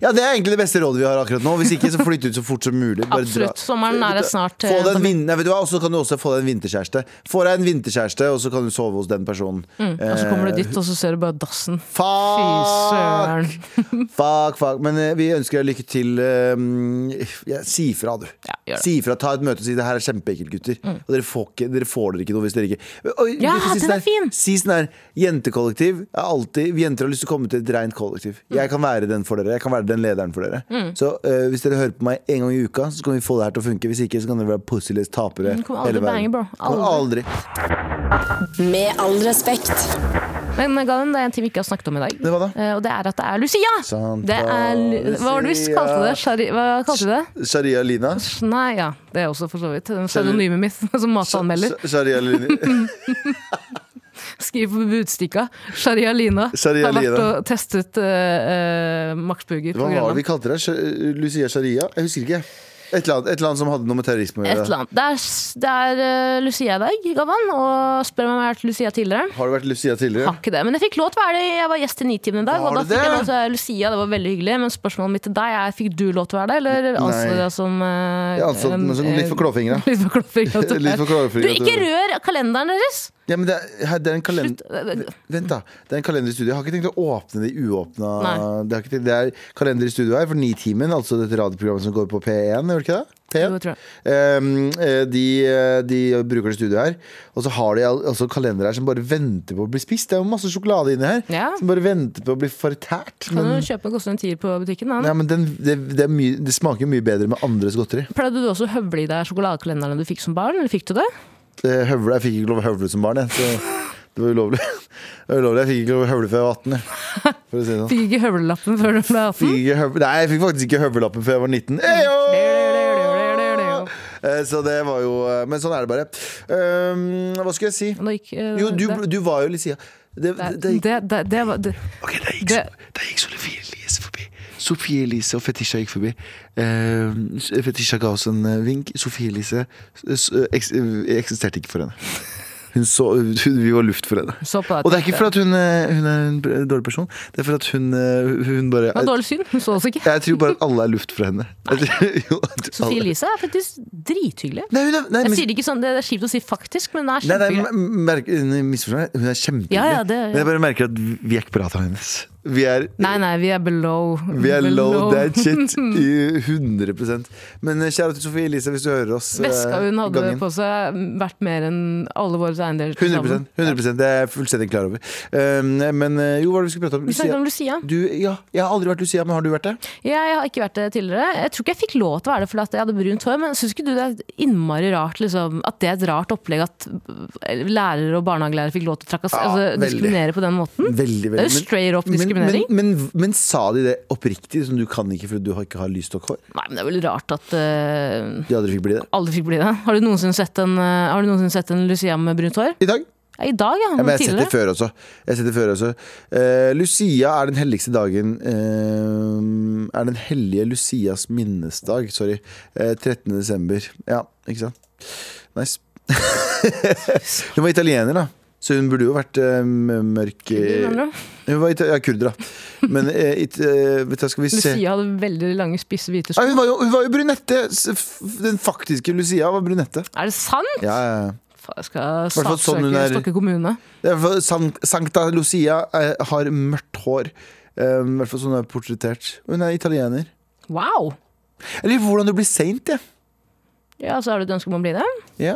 [SPEAKER 2] Ja, Det er egentlig det beste rådet vi har akkurat nå. Hvis ikke, så flytt ut så fort som mulig. Bare
[SPEAKER 3] Absolutt. Sommeren er det snart,
[SPEAKER 2] Få deg
[SPEAKER 3] eh,
[SPEAKER 2] en vin Nei, vet du hva? Og så kan du også få deg en vinterkjæreste. Få deg en vinterkjæreste, og så kan du sove hos den personen.
[SPEAKER 3] Mm. Og så kommer du
[SPEAKER 2] Eh,
[SPEAKER 3] dit, og så ser du bare dassen. Fy
[SPEAKER 2] Fuck!
[SPEAKER 3] søren.
[SPEAKER 2] Fuck, fuck. Men eh, vi ønsker deg lykke til. eh, ja, si fra, du.
[SPEAKER 3] Ja, gjør det. Mm.
[SPEAKER 2] si fra, Ta et møte og si det her er kjempeekkelt, gutter. Og dere får, ikke, dere får dere ikke noe hvis dere ikke og,
[SPEAKER 3] Ja,
[SPEAKER 2] du kan si
[SPEAKER 3] den
[SPEAKER 2] sånn
[SPEAKER 3] er
[SPEAKER 2] her-
[SPEAKER 3] fin.
[SPEAKER 2] Si sånn her Jentekollektiv er alltid Vi jenter har lyst til å komme til et rent kollektiv.
[SPEAKER 3] Mm.
[SPEAKER 2] Jeg kan være den for dere. Jeg kan være den lederen for dere. Så eh, hvis dere hører på meg en gang i uka, så kan vi få det her til å funke. Hvis ikke, så kan dere være pussyless tapere
[SPEAKER 3] Mm, kommer aldri
[SPEAKER 2] hele
[SPEAKER 3] bange,
[SPEAKER 2] verden.
[SPEAKER 3] bro.
[SPEAKER 2] Kommer aldri.
[SPEAKER 6] Med all respekt.
[SPEAKER 3] Men Galen, det er en ting vi ikke har snakket om i dag.
[SPEAKER 2] Det var det.
[SPEAKER 3] Eh, Og det er at det er Lucia!
[SPEAKER 2] Santa
[SPEAKER 3] det er, Lu- hva var det du
[SPEAKER 2] Lucia.
[SPEAKER 3] kalte det? Shari, hva kalte du det?
[SPEAKER 2] Sharia Lina.
[SPEAKER 3] Nei, ja. Det er også for så vidt. Pseudonymet mitt som matanmelder.
[SPEAKER 2] Sh- Sharia Lina.
[SPEAKER 3] Skriver på budstikka. Sharia Lina
[SPEAKER 2] Sharia
[SPEAKER 3] har vært
[SPEAKER 2] Lina.
[SPEAKER 3] og testet eh, eh, maksburger på
[SPEAKER 2] Hva var det
[SPEAKER 3] Grønland.
[SPEAKER 2] vi kalte det? Sh- eh, Lucia Sharia? Jeg husker ikke. Et eller annet, et eller annet som hadde noe med terrorisme å
[SPEAKER 3] Et eller
[SPEAKER 2] gjøre.
[SPEAKER 3] annet. Det er, s- det er eh, Lucia i dag, Gavan. Og spør meg om jeg har vært Lucia tidligere.
[SPEAKER 2] Har det vært Lucia tidligere?
[SPEAKER 3] Har ikke det, Men jeg fikk lov til å være det. Jeg var gjest i Nitimen i dag.
[SPEAKER 2] Var
[SPEAKER 3] Og da
[SPEAKER 2] du
[SPEAKER 3] fikk jeg
[SPEAKER 2] det?
[SPEAKER 3] lov til å være Lucia, det var veldig hyggelig. Men spørsmålet mitt til deg er fikk du lov til å være det, eller anså
[SPEAKER 2] Nei.
[SPEAKER 3] du deg som eh,
[SPEAKER 2] Jeg anså den
[SPEAKER 3] en- eh,
[SPEAKER 2] som altså, sånn litt for klåfingra.
[SPEAKER 3] Litt for klåfingre at du
[SPEAKER 2] Litt
[SPEAKER 3] er.
[SPEAKER 2] for klåfingra
[SPEAKER 3] Du,
[SPEAKER 2] at du
[SPEAKER 3] ikke
[SPEAKER 2] er.
[SPEAKER 3] rør kalenderen deres!
[SPEAKER 2] Ja, men det er, her- det er en kalender...
[SPEAKER 3] Slutt. eh,
[SPEAKER 2] Vent, da. Det er en kalender i studio. Jeg har ikke tenkt å åpne de uåpna
[SPEAKER 3] Nei.
[SPEAKER 2] det, har ikke tenkt- det er kalender i studio her for Nitimen, altså dette radioprogrammet som går på P1, gjør det ikke det?
[SPEAKER 3] Jo, jeg
[SPEAKER 2] P1?
[SPEAKER 3] tror det.
[SPEAKER 2] Ehm, eh, de, eh, de bruker det i studio her. Og så har de al- altså kalender her som bare venter på å bli spist. Det er jo masse sjokolade inni her
[SPEAKER 3] Ja.
[SPEAKER 2] som bare venter på å bli fortært.
[SPEAKER 3] Kan
[SPEAKER 2] Men,
[SPEAKER 3] du kjøpe koste en tier på butikken?
[SPEAKER 2] ja,
[SPEAKER 3] Da?
[SPEAKER 2] men den, det, det, er mye, det smaker jo mye bedre med andres godteri.
[SPEAKER 3] Pleide du også å høvle i deg sjokoladekalenderne du fikk som barn? Eller fikk du det?
[SPEAKER 2] Eh, Høvle, jeg fikk ikke lov å høvle som barn, jeg. Så det var ulovlig. Det var ulovlig. Jeg fikk ikke lov å høvle før jeg var 18. Jeg, for å si det sånn.
[SPEAKER 3] Fikk ikke høvlelappen før du ble 18?
[SPEAKER 2] Fikk ikke høv- Nei, jeg fikk faktisk ikke høvelappen før jeg var 19. Eyo! Eh, Så det var jo eh, Men sånn er det bare. Um, hva skulle jeg si?
[SPEAKER 3] Nå gikk, eh,
[SPEAKER 2] Jo, du,
[SPEAKER 3] det,
[SPEAKER 2] du var jo Lucia. Det, det,
[SPEAKER 3] det,
[SPEAKER 2] det,
[SPEAKER 3] det, det, det, var- det,
[SPEAKER 2] Ok, der gikk,
[SPEAKER 3] Det-
[SPEAKER 2] der gikk Sophie Elise forbi. Sophie Elise og Fetisha gikk forbi. Eh, Fetisha ga oss en eh, vink. Sophie Elise eh, s- eh, eks, eh, eksisterte ikke for henne. Hun så, hun, vi var luft for henne.
[SPEAKER 3] Så på deg,
[SPEAKER 2] og det er ikke for at hun, eh, hun er en b- dårlig person. Det er for at hun, eh, hun bare
[SPEAKER 3] det var dårlig syn. Hun så oss ikke.
[SPEAKER 2] Jeg tror bare at alle er luft for henne. Jeg tror- jo, at alle-
[SPEAKER 3] Sofie Elise er faktisk drithyggelig.
[SPEAKER 2] Nei, hun er, nei,
[SPEAKER 3] Jeg
[SPEAKER 2] men-
[SPEAKER 3] sier det ikke sånn, det er kjipt å si faktisk, men hun er
[SPEAKER 2] Nei, nei,
[SPEAKER 3] kjempehyggelig.
[SPEAKER 2] men- merk- misforstå meg. Hun er kjempehyggelig.
[SPEAKER 3] Ja, ja, det-
[SPEAKER 2] Men jeg bare merker at vi er ikke på radaren hennes. Vi er
[SPEAKER 3] Nei, nei, vi er below.
[SPEAKER 2] Vi er low
[SPEAKER 3] Below.
[SPEAKER 2] that shit i 100 Men eh, kjære til Sofie Elise, hvis du hører oss eh,
[SPEAKER 3] Veska hun hadde
[SPEAKER 2] gangen.
[SPEAKER 3] på seg, vært mer enn alle våre eiendeler. til
[SPEAKER 2] 100,
[SPEAKER 3] sammen.
[SPEAKER 2] 100 Det er jeg fullstendig klar over. Um, men eh, jo, hva var det vi skulle prate om?
[SPEAKER 3] Vi snakket om Lucia.
[SPEAKER 2] Du, ja, jeg har aldri vært Lucia, men har du vært det?
[SPEAKER 3] Jeg har ikke vært det tidligere. Jeg tror ikke jeg fikk lov til å være det fordi at jeg hadde brunt hår, men syns ikke du det er innmari rart liksom, at det er et rart opplegg at eh, lærere og barnehagelærere fikk lov til å trakas
[SPEAKER 2] Ja,
[SPEAKER 3] altså,
[SPEAKER 2] veldig.
[SPEAKER 3] diskriminere på den måten?
[SPEAKER 2] Veldig, veldig
[SPEAKER 3] Det er jo straight up Mm. diskriminering.
[SPEAKER 2] Men, men, men, men sa de det oppriktig, som du kan ikke fordi du har- ikke har lyst nok hår?
[SPEAKER 3] Nei, men det er vel rart at eh,
[SPEAKER 2] De andre fikk bli det.
[SPEAKER 3] alle fikk bli det. Har du noensinne sett en, eh, har du noensinne sett en Lucia med brunt hår?
[SPEAKER 2] I dag?
[SPEAKER 3] Ja, I dag,
[SPEAKER 2] Ja,
[SPEAKER 3] ja.
[SPEAKER 2] men
[SPEAKER 3] Men
[SPEAKER 2] jeg har sett det
[SPEAKER 3] tidligere.
[SPEAKER 2] før også. Jeg har sett det før også. Eh, Lucia er den helligste dagen eh, Er den hellige Lucias minnesdag. Sorry. Eh, 13. desember. Ja, ikke sant? Nice. hun var italiener, da. Så hun burde jo vært eh, mørk eh,
[SPEAKER 3] Mener du?
[SPEAKER 2] Hun var ita ja, kurder, da. Men eh, it, eh, vet du, hva, skal vi se
[SPEAKER 3] Lucia hadde veldig lange, spisse,
[SPEAKER 2] Nei,
[SPEAKER 3] hvite sko.
[SPEAKER 2] hun, var jo, hun var jo brunette! S- f- Den faktiske Lucia var brunette.
[SPEAKER 3] Er det sant?!
[SPEAKER 2] Ja, ja, ja.
[SPEAKER 3] Faen, Jeg skal
[SPEAKER 2] Hvertfall sånn hun
[SPEAKER 3] saksøke
[SPEAKER 2] er-
[SPEAKER 3] Stokke kommune.
[SPEAKER 2] Det er i hvert fall Sank- Sankta Lucia eh, har mørkt hår. Eh, I hvert fall sånn hun er portrettert. Og Hun er italiener.
[SPEAKER 3] Wow!
[SPEAKER 2] Eller hvordan du blir saint, jeg.
[SPEAKER 3] Ja, så Har du et ønske om å bli det?
[SPEAKER 2] Ja.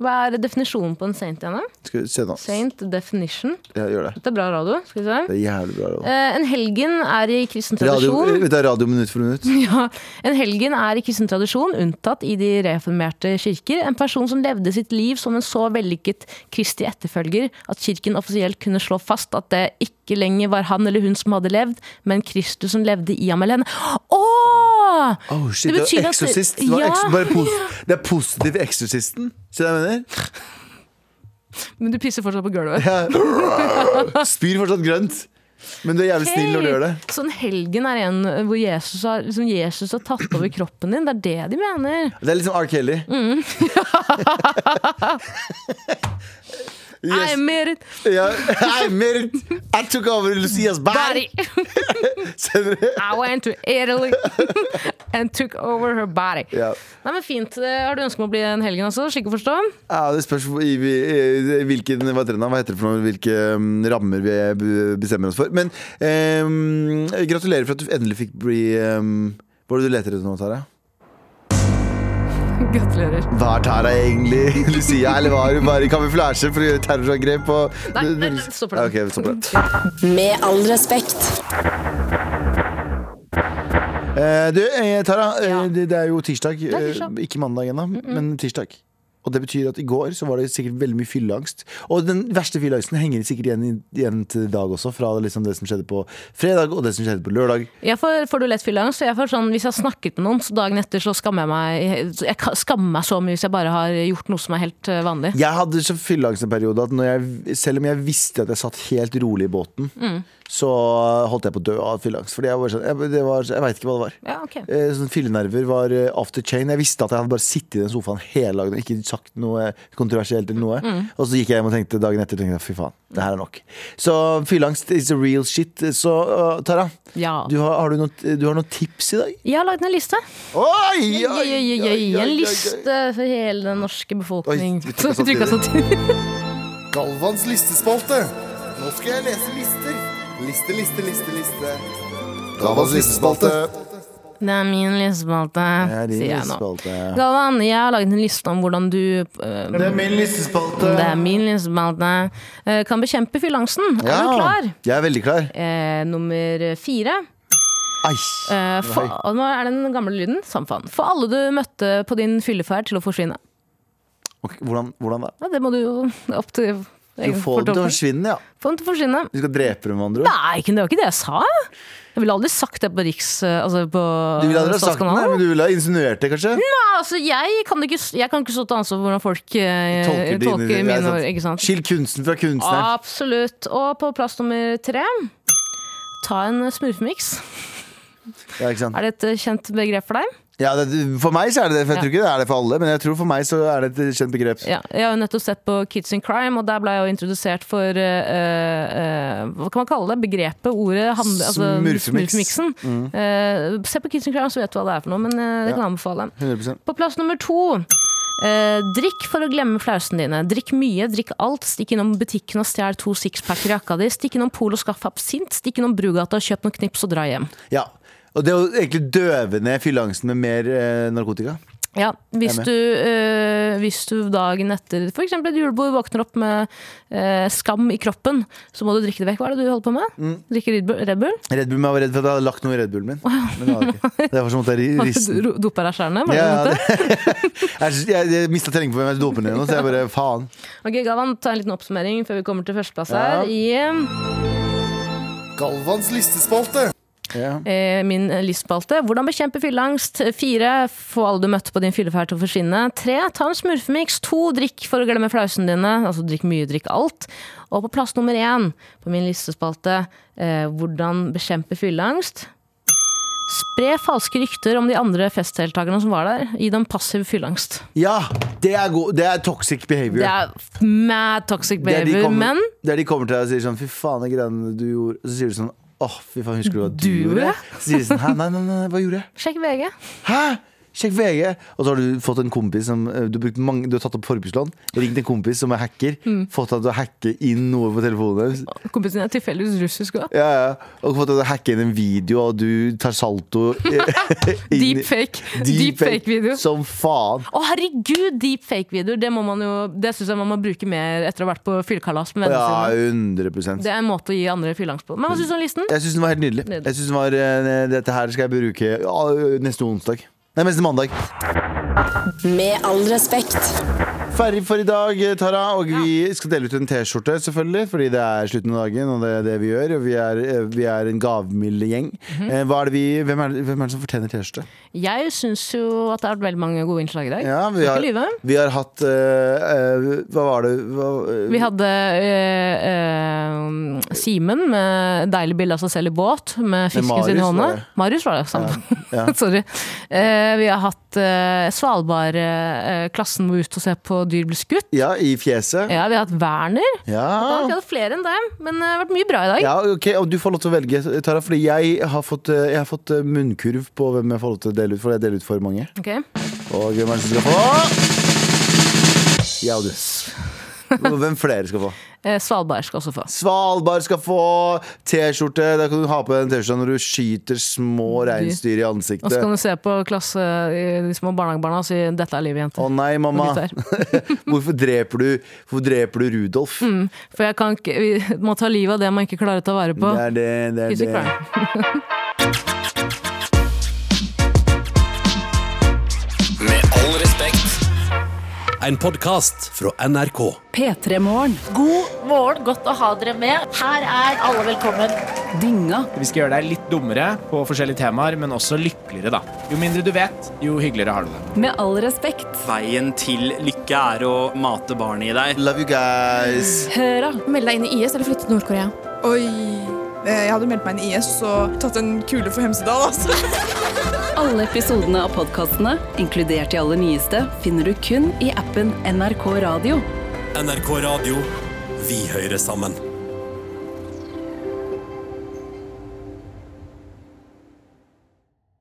[SPEAKER 3] Hva er definisjonen på en saint? Janne?
[SPEAKER 2] Skal vi se nå.
[SPEAKER 3] Saint definition.
[SPEAKER 2] Ja, gjør det.
[SPEAKER 3] Dette er bra radio. skal vi se.
[SPEAKER 2] Det er jævlig bra. Radio.
[SPEAKER 3] Eh, en helgen er i kristen
[SPEAKER 2] Radio, eh,
[SPEAKER 3] tradisjon
[SPEAKER 2] vet du, radio minutt for minutt.
[SPEAKER 3] ja, En helgen er i kristen tradisjon, unntatt i de reformerte kirker, en person som levde sitt liv som en så vellykket kristig etterfølger at kirken offisielt kunne slå fast at det ikke lenger var han eller hun som hadde levd, men Kristus som levde i ham eller henne. Åh!
[SPEAKER 2] Oh, shit,
[SPEAKER 3] Det
[SPEAKER 2] det,
[SPEAKER 3] betyr
[SPEAKER 2] var
[SPEAKER 3] at-
[SPEAKER 2] Exorcist. Det, var
[SPEAKER 3] Ja.
[SPEAKER 2] ex bare pos det er positiv Exorcisten. Ser du hva jeg mener?
[SPEAKER 3] Men du pisser fortsatt på gulvet.
[SPEAKER 2] Ja. Spyr fortsatt grønt. Men du er jævlig snill når du gjør det.
[SPEAKER 3] Så en helgen er en hvor Jesus har, liksom Jesus har tatt over kroppen din. Det er det de mener.
[SPEAKER 2] Det er liksom R. Kelly.
[SPEAKER 3] Mm. I
[SPEAKER 2] yes.
[SPEAKER 3] made it
[SPEAKER 2] ja. I made it. I took over Lucias body.
[SPEAKER 3] body.
[SPEAKER 2] Ser dere?
[SPEAKER 3] I went to Italy and took over her body.
[SPEAKER 2] Ja.
[SPEAKER 3] Nei, men Fint. Eh, Har du ønske om å bli en helgen, altså? Slik å forstå?
[SPEAKER 2] Ja, det spørs hvor- i, i, i hvilken, hva, heter det, da? hva heter det for noe, hvilke mm, rammer vi b- bestemmer oss for. Men ehm, gratulerer for at du endelig fikk bli ehm, Hva er det du leter etter nå, Tara?
[SPEAKER 3] Gratulerer.
[SPEAKER 2] Hva er Tara egentlig? Lucia? Eller var hun bare i kamuflasje for å gjøre terrorangrep på
[SPEAKER 3] Nei, nei, nei, stopp det.
[SPEAKER 2] Ja, ok, vi stopper det.
[SPEAKER 6] Med all respekt.
[SPEAKER 2] Eh, du, eh, Tara. eh,
[SPEAKER 3] Ja.
[SPEAKER 2] Det, det er jo eh, tirsdag.
[SPEAKER 3] er
[SPEAKER 2] eh,
[SPEAKER 3] tirsdag.
[SPEAKER 2] Ikke mandag ennå, men tirsdag. Og det betyr at i går så var det sikkert veldig mye fylleangst. Og den verste fylleangsten henger sikkert igjen, i- igjen til i dag også, fra liksom det som skjedde på fredag og det som skjedde på lørdag.
[SPEAKER 3] Jeg får, får du lett fylleangst. og Jeg får sånn, hvis jeg har snakket med noen, så dagen etter så skammer jeg meg Jeg ka- skammer meg så mye hvis jeg bare har gjort noe som er helt eh, vanlig.
[SPEAKER 2] Jeg hadde så fylleangst en periode at når jeg, selv om jeg visste at jeg satt helt rolig i båten,
[SPEAKER 3] Mm.
[SPEAKER 2] så holdt jeg på å dø av fylleangst. Fordi jeg, var sånn, jeg, det var- jeg veit ikke hva det var.
[SPEAKER 3] Ja, ok.
[SPEAKER 2] Eh, Sånn Fyllenerver var eh, after chain. Jeg visste at jeg hadde bare sittet i den sofaen hele dagen og ikke sagt noe kontroversielt. eller noe
[SPEAKER 3] Mm.
[SPEAKER 2] Og så gikk jeg hjem og tenkte dagen etter tenkte, jeg, fy faen, det her er nok. Så fylleangst is a real shit. Så eh, Tara,
[SPEAKER 3] Ja.
[SPEAKER 2] du, har, har du, noen, du har noen tips i dag?
[SPEAKER 3] Jeg har lagd en liste.
[SPEAKER 2] Oi, oi,
[SPEAKER 3] Oi, oi, oi, oi,
[SPEAKER 2] oi,
[SPEAKER 3] en
[SPEAKER 2] oi.
[SPEAKER 3] liste for hele den norske befolkning.
[SPEAKER 2] Oi, vi trykket samtidig.
[SPEAKER 3] Trykket samtidig.
[SPEAKER 5] Galvans listespalte. Nå skal jeg lese lister. Liste, liste, liste, liste. Galvans listespalte.
[SPEAKER 3] Det er min listespalte,
[SPEAKER 2] Ja, din
[SPEAKER 3] sier jeg nå.
[SPEAKER 2] listespalte.
[SPEAKER 3] Galvan, jeg har lagd en liste om hvordan du eh,
[SPEAKER 2] Det er min listespalte.
[SPEAKER 3] Det er min listespalte. eh, Kan bekjempe fylleangsten. Er du klar?
[SPEAKER 2] Jeg er veldig klar.
[SPEAKER 3] Eh, nummer fire.
[SPEAKER 2] Ai.
[SPEAKER 3] Eh, fa-
[SPEAKER 2] Nei.
[SPEAKER 3] og nå er det den gamle lyden. Samme faen. Få alle du møtte på din fylleferd til å forsvinne.
[SPEAKER 2] Ok, hvordan, hvordan da?
[SPEAKER 3] Ja, det må du jo opp til
[SPEAKER 2] Du
[SPEAKER 3] egen
[SPEAKER 2] får dem til å
[SPEAKER 3] fortolkning.
[SPEAKER 2] forsvinne, ja.
[SPEAKER 3] Få dem til å forsvinne.
[SPEAKER 2] Du skal drepe dem, med andre ord.
[SPEAKER 3] Nei, ikke- det var ikke det jeg sa. Jeg ville aldri sagt det på Riks... eh, Altså på
[SPEAKER 2] Du ville aldri ha sagt det,
[SPEAKER 3] Statskanalen.
[SPEAKER 2] men du ville ha insinuert det, kanskje?
[SPEAKER 3] Nei, altså, jeg kan ikke, s- jeg kan ikke stå til ansvar for hvordan folk eh,
[SPEAKER 2] Tolker dine-
[SPEAKER 3] tolker
[SPEAKER 2] ja,
[SPEAKER 3] mine
[SPEAKER 2] sant.
[SPEAKER 3] ord. Ikke sant?
[SPEAKER 2] Skill kunsten fra
[SPEAKER 3] Ah.
[SPEAKER 2] kunstneren.
[SPEAKER 3] Absolutt. Og på plass nummer tre Ta en smurfemiks.
[SPEAKER 2] Ja, ikke sant?
[SPEAKER 3] Er det et eh, kjent begrep for deg?
[SPEAKER 2] Ja, det, for meg så er det det, for jeg tror ikke det er det for alle, men jeg tror for meg så er det et kjent begrep.
[SPEAKER 3] Ja, jeg har jo nettopp sett på Kids in Crime, og der ble jeg jo introdusert for eh, eh, Hva kan man kalle det? Begrepet, ordet, handle, altså,
[SPEAKER 2] Smurfemiks.
[SPEAKER 3] smurfemiksen. Eh, se på Kids in Crime, så vet du hva det er for noe, men eh, det kan jeg anbefale.
[SPEAKER 2] 100%
[SPEAKER 3] På plass nummer to. eh, drikk for å glemme flausene dine. Drikk mye, drikk alt. Stikk innom butikken og stjel to sixpacker i jakka di. Stikk innom Polo og skaff absint. Stikk innom Brugata, kjøp noen knips og dra hjem.
[SPEAKER 2] Ja. Og det å egentlig døve ned fylleangsten med mer eh, narkotika.
[SPEAKER 3] Ja, hvis
[SPEAKER 2] Jeg er med.
[SPEAKER 3] du, øh, hvis du dagen etter for eksempel et julebord våkner opp med øh, skam i kroppen, så må du drikke det vekk. Hva er det du holder på med? Drikke Red Bull? Red Bull?
[SPEAKER 2] Red Bull, jeg var redd for at jeg hadde lagt noe i Red Bullen min. Men det var det ikke. Det var som at jeg
[SPEAKER 3] Du
[SPEAKER 2] risten.
[SPEAKER 3] ro- Dopa deg skjærene? Var det
[SPEAKER 2] Ja,
[SPEAKER 3] det?
[SPEAKER 2] det, jeg jeg, jeg mista terrenget på hvem jeg skulle dope ned nå, så jeg bare faen.
[SPEAKER 3] Ok, Galvan, ta en liten oppsummering før vi kommer til førsteplass her. I eh,
[SPEAKER 5] Galvans listespalte.
[SPEAKER 2] Ja.
[SPEAKER 3] eh, min listespalte Hvordan bekjempe fylleangst? Fire, få alle du møtte på din fylleferd til å forsvinne. Tre, ta en smurfemiks. To, drikk for å glemme flausene dine. Altså drikk mye, drikk alt. Og på plass nummer én på min listespalte, eh, hvordan bekjempe fylleangst? Spre falske rykter om de andre festdeltakerne som var der. Gi dem passiv fylleangst.
[SPEAKER 2] ja det, er god, det er toxic behavior.
[SPEAKER 3] Det er mad toxic
[SPEAKER 2] Der de
[SPEAKER 3] behavior,
[SPEAKER 2] kommer-
[SPEAKER 3] men
[SPEAKER 2] Der de kommer til deg og sier sånn Fy faen, det greiene du gjorde Og så sier du sånn Åh, fy faen, husker du hva du,
[SPEAKER 3] Du
[SPEAKER 2] gjorde?
[SPEAKER 3] gjorde?
[SPEAKER 2] Så sier de sånn Hæ, nei, nei, nei, hva gjorde jeg?
[SPEAKER 3] sjekk VG.
[SPEAKER 2] Hæ? Sjekk VG Og så har du fått en kompis som eh, Du har, brukt mange, du har tatt opp forbrukslån Ringt en kompis som er hacker
[SPEAKER 3] Mm.
[SPEAKER 2] Fått deg til å hacke inn noe på telefonen deres.
[SPEAKER 3] Kompisen din er tilfeldigvis russisk òg.
[SPEAKER 2] Ja, ja Og fått deg til å hacke inn en video Og du tar salto
[SPEAKER 3] Deepfake. Deepfake-video.
[SPEAKER 2] Som faen
[SPEAKER 3] Å herregud, deepfake-videoer! Det, må man jo- det syns jeg man må bruke mer etter å ha vært på fyllekalas med vennene
[SPEAKER 2] Ja,
[SPEAKER 3] sine.
[SPEAKER 2] 100%
[SPEAKER 3] Det er en måte å gi andre fylleangst på. Men hva syns du om listen?
[SPEAKER 2] Jeg syns den var helt nydelig.
[SPEAKER 3] Nydelig.
[SPEAKER 2] Jeg synes den var, eh, Dette her skal jeg bruke ja, neste onsdag. Nei, neste mandag.
[SPEAKER 6] Med all respekt.
[SPEAKER 2] Ferdig for i dag, eh, Tara. Og vi skal dele ut en T-skjorte, selvfølgelig. Fordi det er slutten av dagen, og det er det vi gjør. Og vi er, eh, vi er en gavmild gjeng.
[SPEAKER 3] Mhm.
[SPEAKER 2] Eh, Hva er det vi, hvem, er det, hvem er det som fortjener T-skjorte?
[SPEAKER 3] Jeg syns jo at det har vært veldig mange gode innslag i dag.
[SPEAKER 2] Ja, vi,
[SPEAKER 3] Skal
[SPEAKER 2] har-
[SPEAKER 3] ikke lyve.
[SPEAKER 2] vi har hatt eh, eh, Hva var det hva, eh,
[SPEAKER 3] Vi hadde øh, øh, Simen med deilig bilde av seg selv i båt med fisken sin i
[SPEAKER 2] Marius
[SPEAKER 3] hånda.
[SPEAKER 2] var det.
[SPEAKER 3] Marius var det. Samme.
[SPEAKER 2] Ja, ja.
[SPEAKER 3] Sorry. Eh, vi har hatt eh, uh, Svalbard-klassen må ut og se på dyr bli skutt.
[SPEAKER 2] Ja, i fjeset.
[SPEAKER 3] Ja, vi har hatt Werner. Da har
[SPEAKER 2] Ja.
[SPEAKER 3] vi hatt flere enn dem, men eh, det har vært mye bra i dag.
[SPEAKER 2] Ja, ok, og du får lov til å velge, Tara. Fordi jeg har fått, eh, jeg har fått eh, munnkurv på hvem jeg får lov til å dele ut, for jeg deler ut for mange.
[SPEAKER 3] Ok.
[SPEAKER 2] Og hvem er det som skal få? Ja, og du. Hvem flere skal få?
[SPEAKER 3] Eh, Svalbard skal også få.
[SPEAKER 2] Svalbard skal få T-skjorte. Da kan du ha på den T-skjorta når du skyter små reinsdyr i
[SPEAKER 3] Og så kan
[SPEAKER 2] ansiktet.
[SPEAKER 3] du se på klasse, eh, de små barnehagebarna og si 'dette er
[SPEAKER 2] Å
[SPEAKER 3] livet, jenter'.
[SPEAKER 2] nei, mamma.
[SPEAKER 3] Og
[SPEAKER 2] Hvorfor dreper du, hvorfor dreper du Rudolf?
[SPEAKER 3] For jeg kan ikke, vi må ta livet av det man ikke klarer å ta vare på.
[SPEAKER 2] Det er det. det,
[SPEAKER 3] Kids
[SPEAKER 2] er
[SPEAKER 3] in
[SPEAKER 2] det.
[SPEAKER 3] crime.
[SPEAKER 4] Med all respekt.
[SPEAKER 7] I
[SPEAKER 4] en podkast fra NRK.
[SPEAKER 1] P3-morgen.
[SPEAKER 8] God morgen, godt å ha dere med. Her er alle velkommen.
[SPEAKER 1] Dynga.
[SPEAKER 9] Vi skal gjøre deg litt dummere på forskjellige temaer, men også lykkeligere, da. Jo mindre du vet, jo hyggeligere har du det.
[SPEAKER 1] Med all respekt.
[SPEAKER 10] Veien til lykke er å mate barnet i deg.
[SPEAKER 2] Love you guys.
[SPEAKER 1] Høra.
[SPEAKER 11] Meld deg inn i IS eller flytte til Nord-Korea?
[SPEAKER 12] Oi. Eh, Jeg hadde meldt meg inn i IS og tatt en kule for Hemsedal, altså.
[SPEAKER 1] Alle episodene av podkastene, inkludert de aller nyeste, finner du kun i appen NRK Radio.
[SPEAKER 4] NRK Radio. Vi hører sammen.